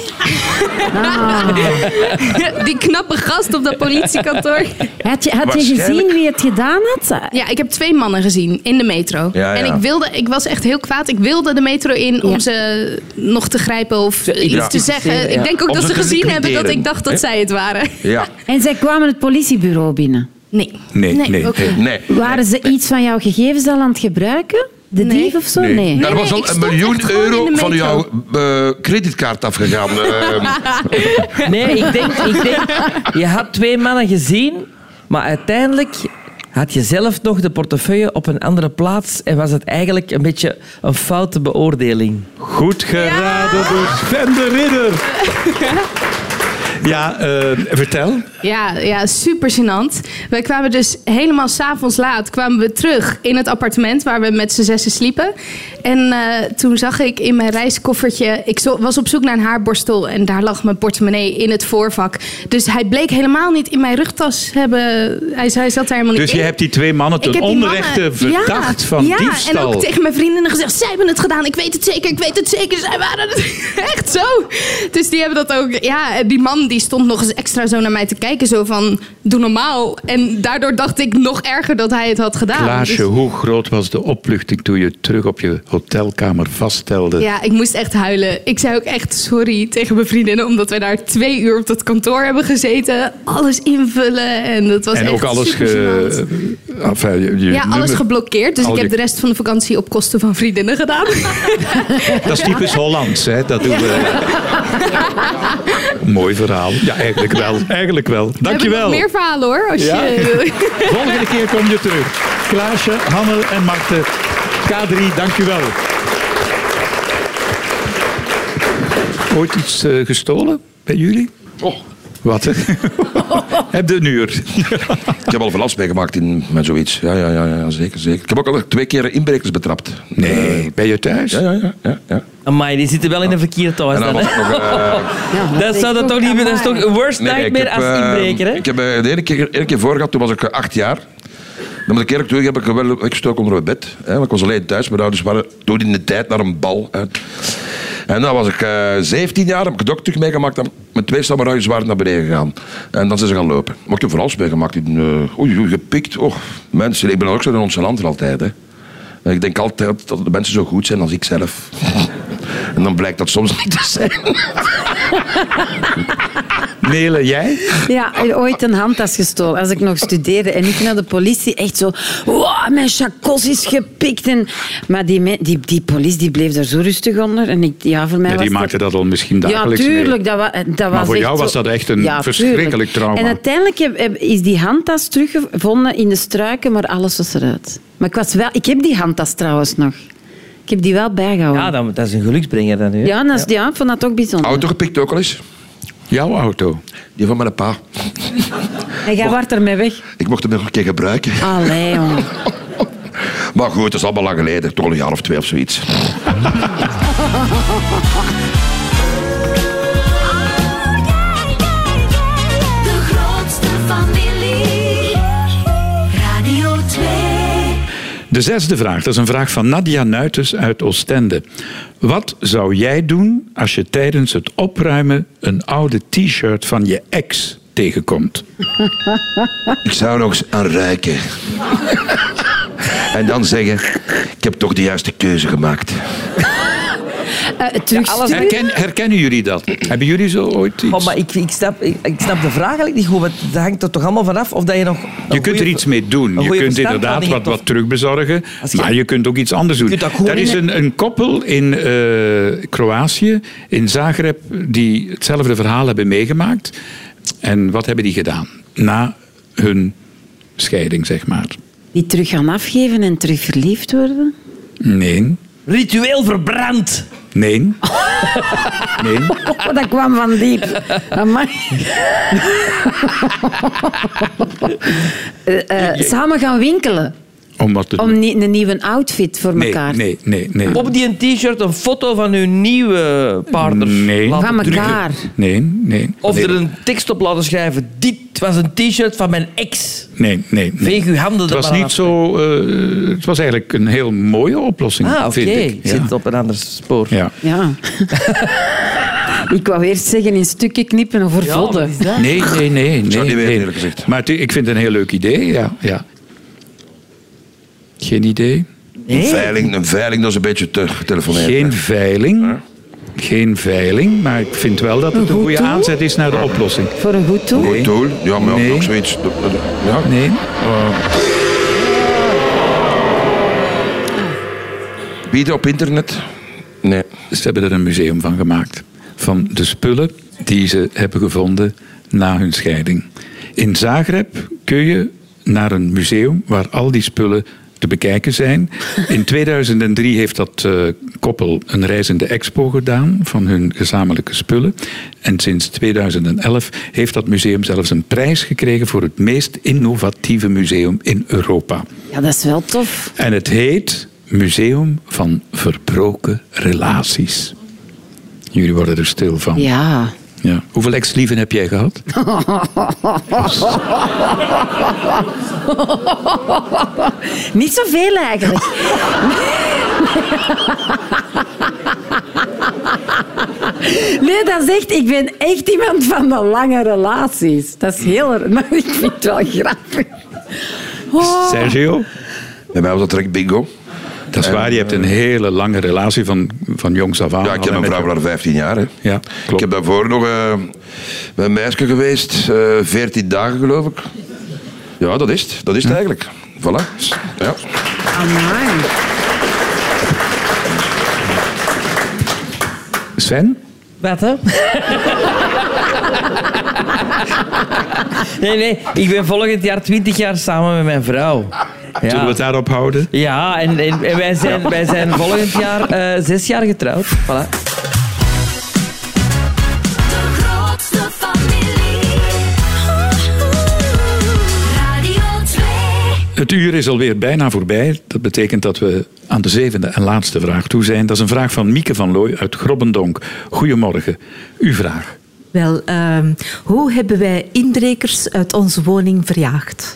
[SPEAKER 10] Die knappe gast op dat politiekantoor.
[SPEAKER 5] Had je, had je
[SPEAKER 4] Waarschijnlijk-
[SPEAKER 5] gezien wie het gedaan had?
[SPEAKER 10] Ja, ik heb twee mannen gezien in de metro.
[SPEAKER 4] Ja, ja.
[SPEAKER 10] En ik, wilde, ik was echt heel kwaad. Ik wilde de metro in om
[SPEAKER 5] Ja.
[SPEAKER 10] ze nog te grijpen of iets
[SPEAKER 4] ja.
[SPEAKER 10] te zeggen.
[SPEAKER 3] Ja.
[SPEAKER 10] Ik denk ook
[SPEAKER 4] Om
[SPEAKER 10] dat
[SPEAKER 4] ze
[SPEAKER 10] ze
[SPEAKER 4] te
[SPEAKER 10] gezien hebben dat
[SPEAKER 4] liquideren,
[SPEAKER 10] ik dacht dat
[SPEAKER 4] hè?
[SPEAKER 10] zij het waren.
[SPEAKER 4] Ja.
[SPEAKER 5] En zij kwamen het politiebureau binnen.
[SPEAKER 10] Nee.
[SPEAKER 2] Nee, nee,
[SPEAKER 10] ook
[SPEAKER 2] nee.
[SPEAKER 10] niet.
[SPEAKER 4] Nee.
[SPEAKER 5] Waren ze iets van jouw gegevens al aan het gebruiken? De
[SPEAKER 10] Nee.
[SPEAKER 5] dief of zo? Nee.
[SPEAKER 10] Nee,
[SPEAKER 4] Er was
[SPEAKER 10] nee,
[SPEAKER 4] al
[SPEAKER 10] ik
[SPEAKER 4] een
[SPEAKER 10] stond echt
[SPEAKER 4] miljoen
[SPEAKER 10] gewoon
[SPEAKER 4] euro
[SPEAKER 10] in de
[SPEAKER 4] van
[SPEAKER 10] metro.
[SPEAKER 4] jouw eh, creditkaart afgegaan. Eh,
[SPEAKER 3] Nee, ik denk, ik denk, je had twee mannen gezien, maar uiteindelijk had je zelf nog de portefeuille op een andere plaats en was het eigenlijk een beetje een foute beoordeling.
[SPEAKER 2] Goed geraden door Sven de Ridder. Ja, eh, vertel.
[SPEAKER 10] Ja, ja, super gênant. Wij kwamen dus helemaal s'avonds laat kwamen we terug in het appartement waar we met z'n zessen sliepen. En eh, toen zag ik in mijn reiskoffertje, ik zo- was op zoek naar een haarborstel en daar lag mijn portemonnee in het voorvak. Dus hij bleek helemaal niet in mijn rugtas hebben, hij, hij zat daar helemaal niet
[SPEAKER 2] Dus je
[SPEAKER 10] in.
[SPEAKER 2] hebt die twee mannen
[SPEAKER 10] Ik
[SPEAKER 2] ten
[SPEAKER 10] heb die mannen-
[SPEAKER 2] onrechte verdacht
[SPEAKER 10] ja,
[SPEAKER 2] van
[SPEAKER 10] ja,
[SPEAKER 2] diefstal.
[SPEAKER 10] en ook tegen mijn vriendinnen gezegd, zij hebben het gedaan, ik weet het zeker, ik weet het zeker. Zij waren het echt zo. Dus die hebben dat ook, ja, en die man die stond nog eens extra zo naar mij te kijken, zo van, doe normaal. En daardoor dacht ik nog erger dat hij het had gedaan.
[SPEAKER 2] Klaasje,
[SPEAKER 10] Dus-
[SPEAKER 2] hoe groot was de opluchting toen je terug op je hotelkamer vaststelde?
[SPEAKER 10] ja, ik moest echt huilen. Ik zei ook echt sorry tegen mijn vriendinnen, omdat wij daar twee uur op dat kantoor hebben gezeten. Alles invullen en dat was
[SPEAKER 2] en
[SPEAKER 10] echt
[SPEAKER 2] ook alles,
[SPEAKER 10] super
[SPEAKER 2] ge... Ah, enfin, je- je
[SPEAKER 10] Ja, alles
[SPEAKER 2] nummer-
[SPEAKER 10] geblokkeerd. Dus
[SPEAKER 2] al
[SPEAKER 10] ik
[SPEAKER 2] je-
[SPEAKER 10] heb de rest van de vakantie op kosten van vriendinnen gedaan.
[SPEAKER 2] Dat is typisch Hollands, hè? Dat doen we. Mooi verhaal. Ja, eigenlijk wel. Eigenlijk wel. Dankjewel.
[SPEAKER 10] Heb ik nog meer verhalen hoor. Als
[SPEAKER 2] Ja?
[SPEAKER 10] je...
[SPEAKER 2] Volgende keer kom je terug. Klaasje, Hanne en Marten. K3, dankjewel. Ooit iets eh, gestolen bij jullie?
[SPEAKER 4] oh,
[SPEAKER 2] Wat? hè? Heb de nuur.
[SPEAKER 4] ik heb al veel afspraken gemaakt in, met zoiets. Ja, ja, ja, ja, zeker, zeker. Ik heb ook al twee keer inbrekers betrapt. Eh,
[SPEAKER 2] ben je thuis?
[SPEAKER 4] ja, ja, ja. ja, ja.
[SPEAKER 3] Amai, die zitten wel in een verkeerde thuis.
[SPEAKER 4] En dan
[SPEAKER 3] Dan,
[SPEAKER 4] was ik
[SPEAKER 3] hè?
[SPEAKER 4] nog... eh,
[SPEAKER 3] dat zou dat toch niet Dat is toch een worst
[SPEAKER 4] Nee, ik
[SPEAKER 3] nightmare
[SPEAKER 4] heb,
[SPEAKER 3] als
[SPEAKER 4] eh,
[SPEAKER 3] inbreker, hè?
[SPEAKER 4] Ik heb eh, de ene keer, ene keer voor gehad, toen was ik eh, acht jaar. Dan moet ik eerlijk toe, heb ik wel weggestoken onder mijn bed. Hè, want ik was alleen thuis, mijn ouders waren toen in de tijd naar een bal. Hè. En dan was ik eh 17 jaar, heb ik het ook terug meegemaakt. Dan, mijn twee samurai's waren naar beneden gegaan. En dan zijn ze gaan lopen. Maar ik heb vooral meegemaakt. in, eh, Oei, oei, gepikt. Och, mensen, ik ben ook zo in ons land er altijd. Hè. En Ik denk altijd dat de mensen zo goed zijn als ik zelf. en dan blijkt dat soms niet te zijn.
[SPEAKER 2] Nele, jij?
[SPEAKER 5] Ja, en ooit een handtas gestolen. Als ik nog studeerde en ik naar de politie echt zo... Wow, mijn chacos is gepikt. En, maar die, me- die, die politie die bleef daar zo rustig onder. En ik, ja, voor mij
[SPEAKER 2] Ja,
[SPEAKER 5] was
[SPEAKER 2] die
[SPEAKER 5] dat-
[SPEAKER 2] maakte dat al misschien dagelijks
[SPEAKER 5] Ja,
[SPEAKER 2] mee.
[SPEAKER 5] tuurlijk. Dat wa- eh, dat was
[SPEAKER 2] voor
[SPEAKER 5] echt
[SPEAKER 2] jou
[SPEAKER 5] zo-
[SPEAKER 2] was dat echt een verschrikkelijk
[SPEAKER 5] tuurlijk.
[SPEAKER 2] trauma.
[SPEAKER 5] En uiteindelijk heb- heb- is die handtas teruggevonden in de struiken, maar alles was eruit. Maar ik, was wel, ik heb die handtas trouwens nog. Ik heb die wel bijgehouden.
[SPEAKER 3] Ja,
[SPEAKER 5] Ja,
[SPEAKER 3] dan, dat is een geluksbrenger dan nu. hè?
[SPEAKER 5] dat is, ja, ik vond dat ook bijzonder.
[SPEAKER 4] Auto gepikt ook al eens.
[SPEAKER 2] Jouw auto.
[SPEAKER 4] Die van mijn pa.
[SPEAKER 2] Oh.
[SPEAKER 5] En jij werd ermee weg.
[SPEAKER 4] Ik mocht hem nog een keer gebruiken.
[SPEAKER 5] Allee, jongen.
[SPEAKER 4] Maar goed, dat is allemaal lang geleden. Toch al een jaar of twee of zoiets.
[SPEAKER 6] De grootste familie. Radio 2.
[SPEAKER 2] De zesde vraag, dat is een vraag van Nadia Nuites uit Oostende. Wat zou jij doen als je tijdens het opruimen een oude t-shirt van je ex tegenkomt?
[SPEAKER 4] Ik zou nog eens aan ruiken. en dan zeggen, ik heb toch de juiste keuze gemaakt.
[SPEAKER 5] eh, terugsturen.
[SPEAKER 2] Herken, herkennen jullie dat? Hebben jullie zo ooit
[SPEAKER 3] Oh,
[SPEAKER 2] iets?
[SPEAKER 3] maar ik, ik, snap, ik, ik snap de vraag eigenlijk niet goed. Want dat hangt er toch allemaal vanaf of dat je nog... een
[SPEAKER 2] Je kunt
[SPEAKER 3] goeie-
[SPEAKER 2] er iets mee doen.
[SPEAKER 3] een
[SPEAKER 2] Je
[SPEAKER 3] goeie
[SPEAKER 2] kunt inderdaad
[SPEAKER 3] verstandhouding
[SPEAKER 2] wat,
[SPEAKER 3] hebt
[SPEAKER 2] wat
[SPEAKER 3] of-
[SPEAKER 2] terugbezorgen,
[SPEAKER 3] Als je-
[SPEAKER 2] maar je kunt ook iets anders doen.
[SPEAKER 3] kunt dat gewoon
[SPEAKER 2] Er is een, een koppel in eh, Kroatië, in Zagreb, die hetzelfde verhaal hebben meegemaakt. En wat hebben die gedaan? Na hun scheiding, zeg maar.
[SPEAKER 5] Die terug gaan afgeven en terug verliefd worden.
[SPEAKER 2] Nee,
[SPEAKER 3] Ritueel verbrand.
[SPEAKER 2] nee, nee.
[SPEAKER 5] Oh, dat kwam van diep. Amai. Eh, eh, samen gaan winkelen
[SPEAKER 2] Om wat te
[SPEAKER 5] om
[SPEAKER 2] doen.
[SPEAKER 5] ni- een nieuwe outfit voor
[SPEAKER 2] Nee,
[SPEAKER 5] elkaar.
[SPEAKER 2] nee, nee, nee.
[SPEAKER 3] Op die t-shirt een foto van uw nieuwe partner.
[SPEAKER 2] Nee.
[SPEAKER 3] laten
[SPEAKER 5] Van
[SPEAKER 3] drukken.
[SPEAKER 5] elkaar.
[SPEAKER 2] Nee, nee.
[SPEAKER 3] Of
[SPEAKER 2] nee,
[SPEAKER 3] er een tekst op laten schrijven. Dit was een t-shirt van mijn ex.
[SPEAKER 2] Nee, nee. nee.
[SPEAKER 3] Veeg uw handen
[SPEAKER 2] Het
[SPEAKER 3] er
[SPEAKER 2] was
[SPEAKER 3] maar
[SPEAKER 2] niet
[SPEAKER 3] af.
[SPEAKER 2] zo. eh, het was eigenlijk een heel mooie oplossing.
[SPEAKER 3] Ah, oké.
[SPEAKER 2] vind ik.
[SPEAKER 3] Ik zit op een ander spoor.
[SPEAKER 2] Ja.
[SPEAKER 5] Ja. ik wou eerst zeggen in stukken knippen of vervodden.
[SPEAKER 2] Nee, nee, nee. nee,
[SPEAKER 4] zou niet weten,
[SPEAKER 2] nee.
[SPEAKER 4] eerlijk gezegd.
[SPEAKER 2] Maar het- ik vind het een heel leuk idee. Ja, ja. Geen idee.
[SPEAKER 4] Een veiling, een veiling, dat is een beetje te telefoneren.
[SPEAKER 2] Geen veiling. Geen veiling, maar ik vind wel dat het een
[SPEAKER 5] goed
[SPEAKER 2] goede
[SPEAKER 5] doel?
[SPEAKER 2] aanzet is naar de oplossing.
[SPEAKER 5] Voor een goed doel.
[SPEAKER 4] Goed doel. Ja, maar
[SPEAKER 2] Nee.
[SPEAKER 4] ja, ook zoiets. Ja.
[SPEAKER 2] Nee.
[SPEAKER 4] Bieden op internet? Nee.
[SPEAKER 2] Ze hebben er een museum van gemaakt. Van de spullen die ze hebben gevonden na hun scheiding. In Zagreb kun je naar een museum waar al die spullen te bekijken zijn. In 2003 heeft dat eh, koppel een reizende expo gedaan van hun gezamenlijke spullen. En sinds 2011 heeft dat museum zelfs een prijs gekregen voor het meest innovatieve museum in Europa.
[SPEAKER 5] Ja, dat is wel tof.
[SPEAKER 2] En het heet Museum van Verbroken Relaties. Jullie worden er stil van.
[SPEAKER 5] Ja.
[SPEAKER 2] Ja. Hoeveel ex-lieven heb jij gehad?
[SPEAKER 5] Niet zoveel eigenlijk. Nee, dat is echt... Ik ben echt iemand van de lange relaties. Dat is heel... er- Maar ik vind het wel grappig. Oh.
[SPEAKER 2] Sergio?
[SPEAKER 4] Bij mij was dat direct bingo.
[SPEAKER 2] Dat is waar, je hebt een hele lange relatie van, van jongs af aan.
[SPEAKER 4] Eh, Ja, ik ken mijn vrouw al 15 jaar. Hè.
[SPEAKER 2] Ja,
[SPEAKER 4] Ik
[SPEAKER 2] klopt.
[SPEAKER 4] heb daarvoor nog eh, bij een meisje geweest, eh 14 dagen geloof ik. Ja, dat is het. Dat is het eigenlijk. Voilà. Ja.
[SPEAKER 5] Amai.
[SPEAKER 2] Sven?
[SPEAKER 3] Wat, hè? nee, nee. Ik ben volgend jaar 20 jaar samen met mijn vrouw.
[SPEAKER 2] Zullen we het daarop houden?
[SPEAKER 3] Ja, en, en, en wij, zijn, wij zijn volgend jaar eh, zes jaar getrouwd. Voilà.
[SPEAKER 6] De grootste familie. Radio 2.
[SPEAKER 2] Het uur is alweer bijna voorbij. Dat betekent dat we aan de zevende en laatste vraag toe zijn. Dat is een vraag van Mieke van Looy uit Grobbendonk. Goedemorgen. Uw vraag.
[SPEAKER 10] Wel, ehm, hoe hebben wij inbrekers uit onze woning verjaagd?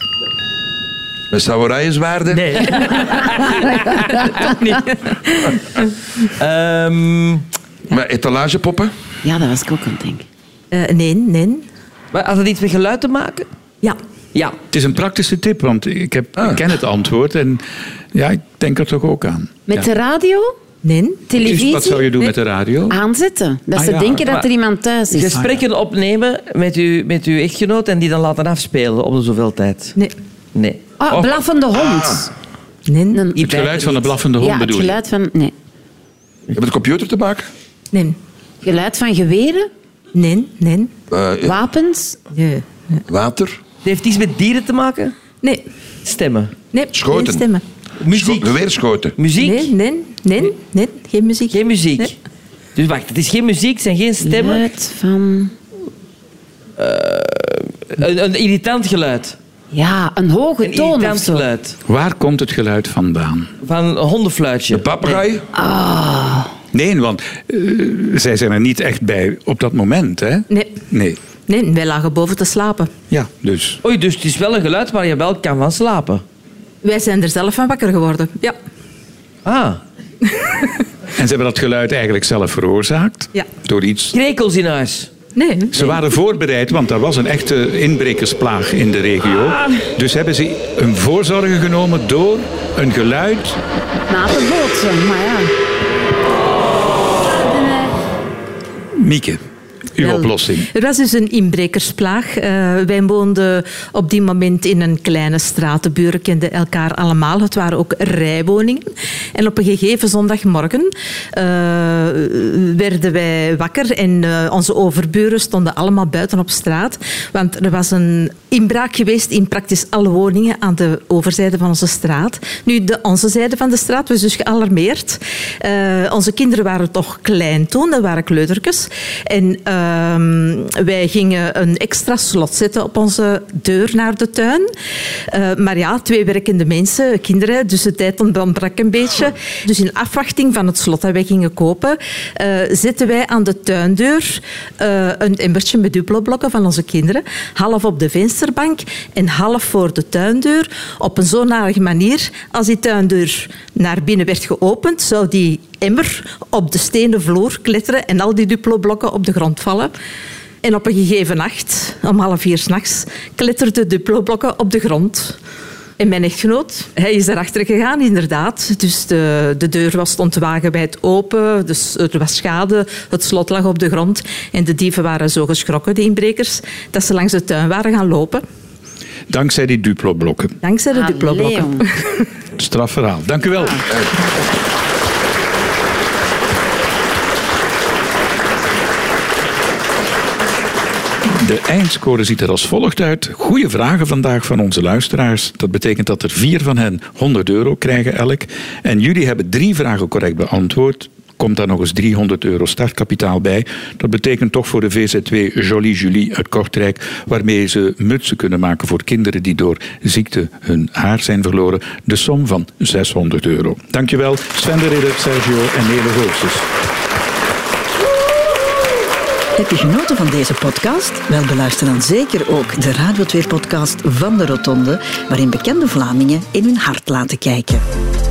[SPEAKER 4] Met Samouraïenswaarden?
[SPEAKER 3] Nee. Toch niet. Ehm,
[SPEAKER 4] Met etalagepoppen?
[SPEAKER 5] Ja, dat was ik ook aan het denken.
[SPEAKER 10] Eh, nee, nee.
[SPEAKER 3] maar had het iets met geluid te maken?
[SPEAKER 10] Ja.
[SPEAKER 3] Ja.
[SPEAKER 2] Het is een praktische tip, want ik, heb,
[SPEAKER 4] Ah.
[SPEAKER 2] ik ken het antwoord en ja, ik denk er toch ook aan.
[SPEAKER 5] Met de radio,
[SPEAKER 10] Nee.
[SPEAKER 5] televisie...
[SPEAKER 2] Dus wat zou je doen met de radio?
[SPEAKER 5] Aanzetten. Dat
[SPEAKER 2] Ah,
[SPEAKER 5] ze
[SPEAKER 2] ja.
[SPEAKER 5] denken dat er
[SPEAKER 3] Maar-
[SPEAKER 5] iemand thuis is.
[SPEAKER 3] Gesprekken
[SPEAKER 2] Ah,
[SPEAKER 3] opnemen met uw, met uw echtgenoot en die dan laten afspelen om de zoveel tijd.
[SPEAKER 10] Nee.
[SPEAKER 3] Nee.
[SPEAKER 5] Oh, blaffende hond.
[SPEAKER 10] Nee.
[SPEAKER 5] Een-
[SPEAKER 2] Het geluid van de Ah. blaffende hond
[SPEAKER 5] ja, het
[SPEAKER 2] bedoel je?
[SPEAKER 5] geluid van... Nee.
[SPEAKER 4] Met een computer te maken?
[SPEAKER 10] Nee.
[SPEAKER 5] Geluid van geweren,
[SPEAKER 10] Nee. Nee.
[SPEAKER 4] Eh,
[SPEAKER 5] wapens,
[SPEAKER 10] Nee.
[SPEAKER 4] water?
[SPEAKER 3] Het heeft iets met dieren te maken?
[SPEAKER 10] Nee.
[SPEAKER 3] Stemmen.
[SPEAKER 10] Nee.
[SPEAKER 4] Schoten.
[SPEAKER 10] Geen stemmen.
[SPEAKER 3] Muziek.
[SPEAKER 4] Scho- Geweerschoten?
[SPEAKER 3] Muziek?
[SPEAKER 10] Nee, nee, nee, nee, geen muziek.
[SPEAKER 3] Geen muziek.
[SPEAKER 10] Nee.
[SPEAKER 3] Dus wacht, het is geen muziek, het zijn geen stemmen.
[SPEAKER 5] geluid van...
[SPEAKER 3] Een, een irritant geluid.
[SPEAKER 5] Ja, een hoge
[SPEAKER 3] Een
[SPEAKER 5] toon of
[SPEAKER 3] irritant
[SPEAKER 5] zo.
[SPEAKER 3] geluid.
[SPEAKER 2] Waar komt het geluid vandaan?
[SPEAKER 3] Van een hondenfluitje.
[SPEAKER 4] Een papegaai?
[SPEAKER 2] Nee, want eh, zij zijn er niet echt bij op dat moment, hè?
[SPEAKER 10] Nee.
[SPEAKER 2] Nee.
[SPEAKER 10] Nee, wij lagen boven te slapen.
[SPEAKER 2] Ja, dus.
[SPEAKER 3] Oei, dus het is wel een geluid waar je wel kan van slapen.
[SPEAKER 10] Wij zijn er zelf van wakker geworden. Ja.
[SPEAKER 3] Ah,
[SPEAKER 2] En ze hebben dat geluid eigenlijk zelf veroorzaakt
[SPEAKER 10] Ja.
[SPEAKER 2] door iets.
[SPEAKER 3] krekels in huis.
[SPEAKER 10] Nee.
[SPEAKER 2] Ze waren voorbereid, want er was een echte inbrekersplaag in de regio. Dus hebben ze een voorzorgen genomen door een geluid
[SPEAKER 5] Na de bootsen, maar ja.
[SPEAKER 2] Mieke, uw
[SPEAKER 10] Wel,
[SPEAKER 2] oplossing.
[SPEAKER 10] Er was dus een inbrekersplaag. Eh, wij woonden op die moment in een kleine straat. De buren kenden elkaar allemaal. Het waren ook rijwoningen. En op een gegeven zondagmorgen eh, werden wij wakker en eh, onze overburen stonden allemaal buiten op straat. Want er was een inbraak geweest in praktisch alle woningen aan de overzijde van onze straat. Nu, de onze zijde van de straat was dus gealarmeerd. Eh, onze kinderen waren toch klein toen, dat waren kleutertjes. En ehm, wij gingen een extra slot zetten op onze deur naar de tuin. Eh, maar ja, twee werkende mensen, kinderen, dus de tijd ontbrak een beetje. Dus in afwachting van het slot dat wij gingen kopen, eh, zetten wij aan de tuindeur eh, een emmertje met duploblokken van onze kinderen. Half op de vensterbank en half voor de tuindeur. Op een zodanige manier, als die tuindeur naar binnen werd geopend, zou die emmer op de stenen vloer kletteren en al die duploblokken op de grond vallen. En op een gegeven nacht, om half vier s'nachts, kletterden duploblokken op de grond. En mijn echtgenoot, hij is daarachter gegaan, inderdaad. Dus de, de deur was stond wagenwijd open, dus er was schade, het slot lag op de grond. En de dieven waren zo geschrokken, de inbrekers, dat ze langs de tuin waren gaan lopen.
[SPEAKER 2] Dankzij die Duplo-blokken.
[SPEAKER 10] Dankzij de
[SPEAKER 5] Allee,
[SPEAKER 10] duploblokken.
[SPEAKER 5] jong.
[SPEAKER 2] Strafverhaal. Dank u wel. De eindscore ziet er als volgt uit. Goeie vragen vandaag van onze luisteraars. Dat betekent dat er vier van hen 100 euro krijgen elk. En jullie hebben drie vragen correct beantwoord. Komt daar nog eens 300 euro startkapitaal bij. Dat betekent toch voor de VZW Jolie Julie uit Kortrijk, waarmee ze mutsen kunnen maken voor kinderen die door ziekte hun haar zijn verloren, de som van 600 euro. Dankjewel, Sven de Ridder, Sergio en Nele Goossens.
[SPEAKER 11] Heb je genoten van deze podcast? Wel, beluister dan zeker ook de Radio 2-podcast van de Rotonde, waarin bekende Vlamingen in hun hart laten kijken.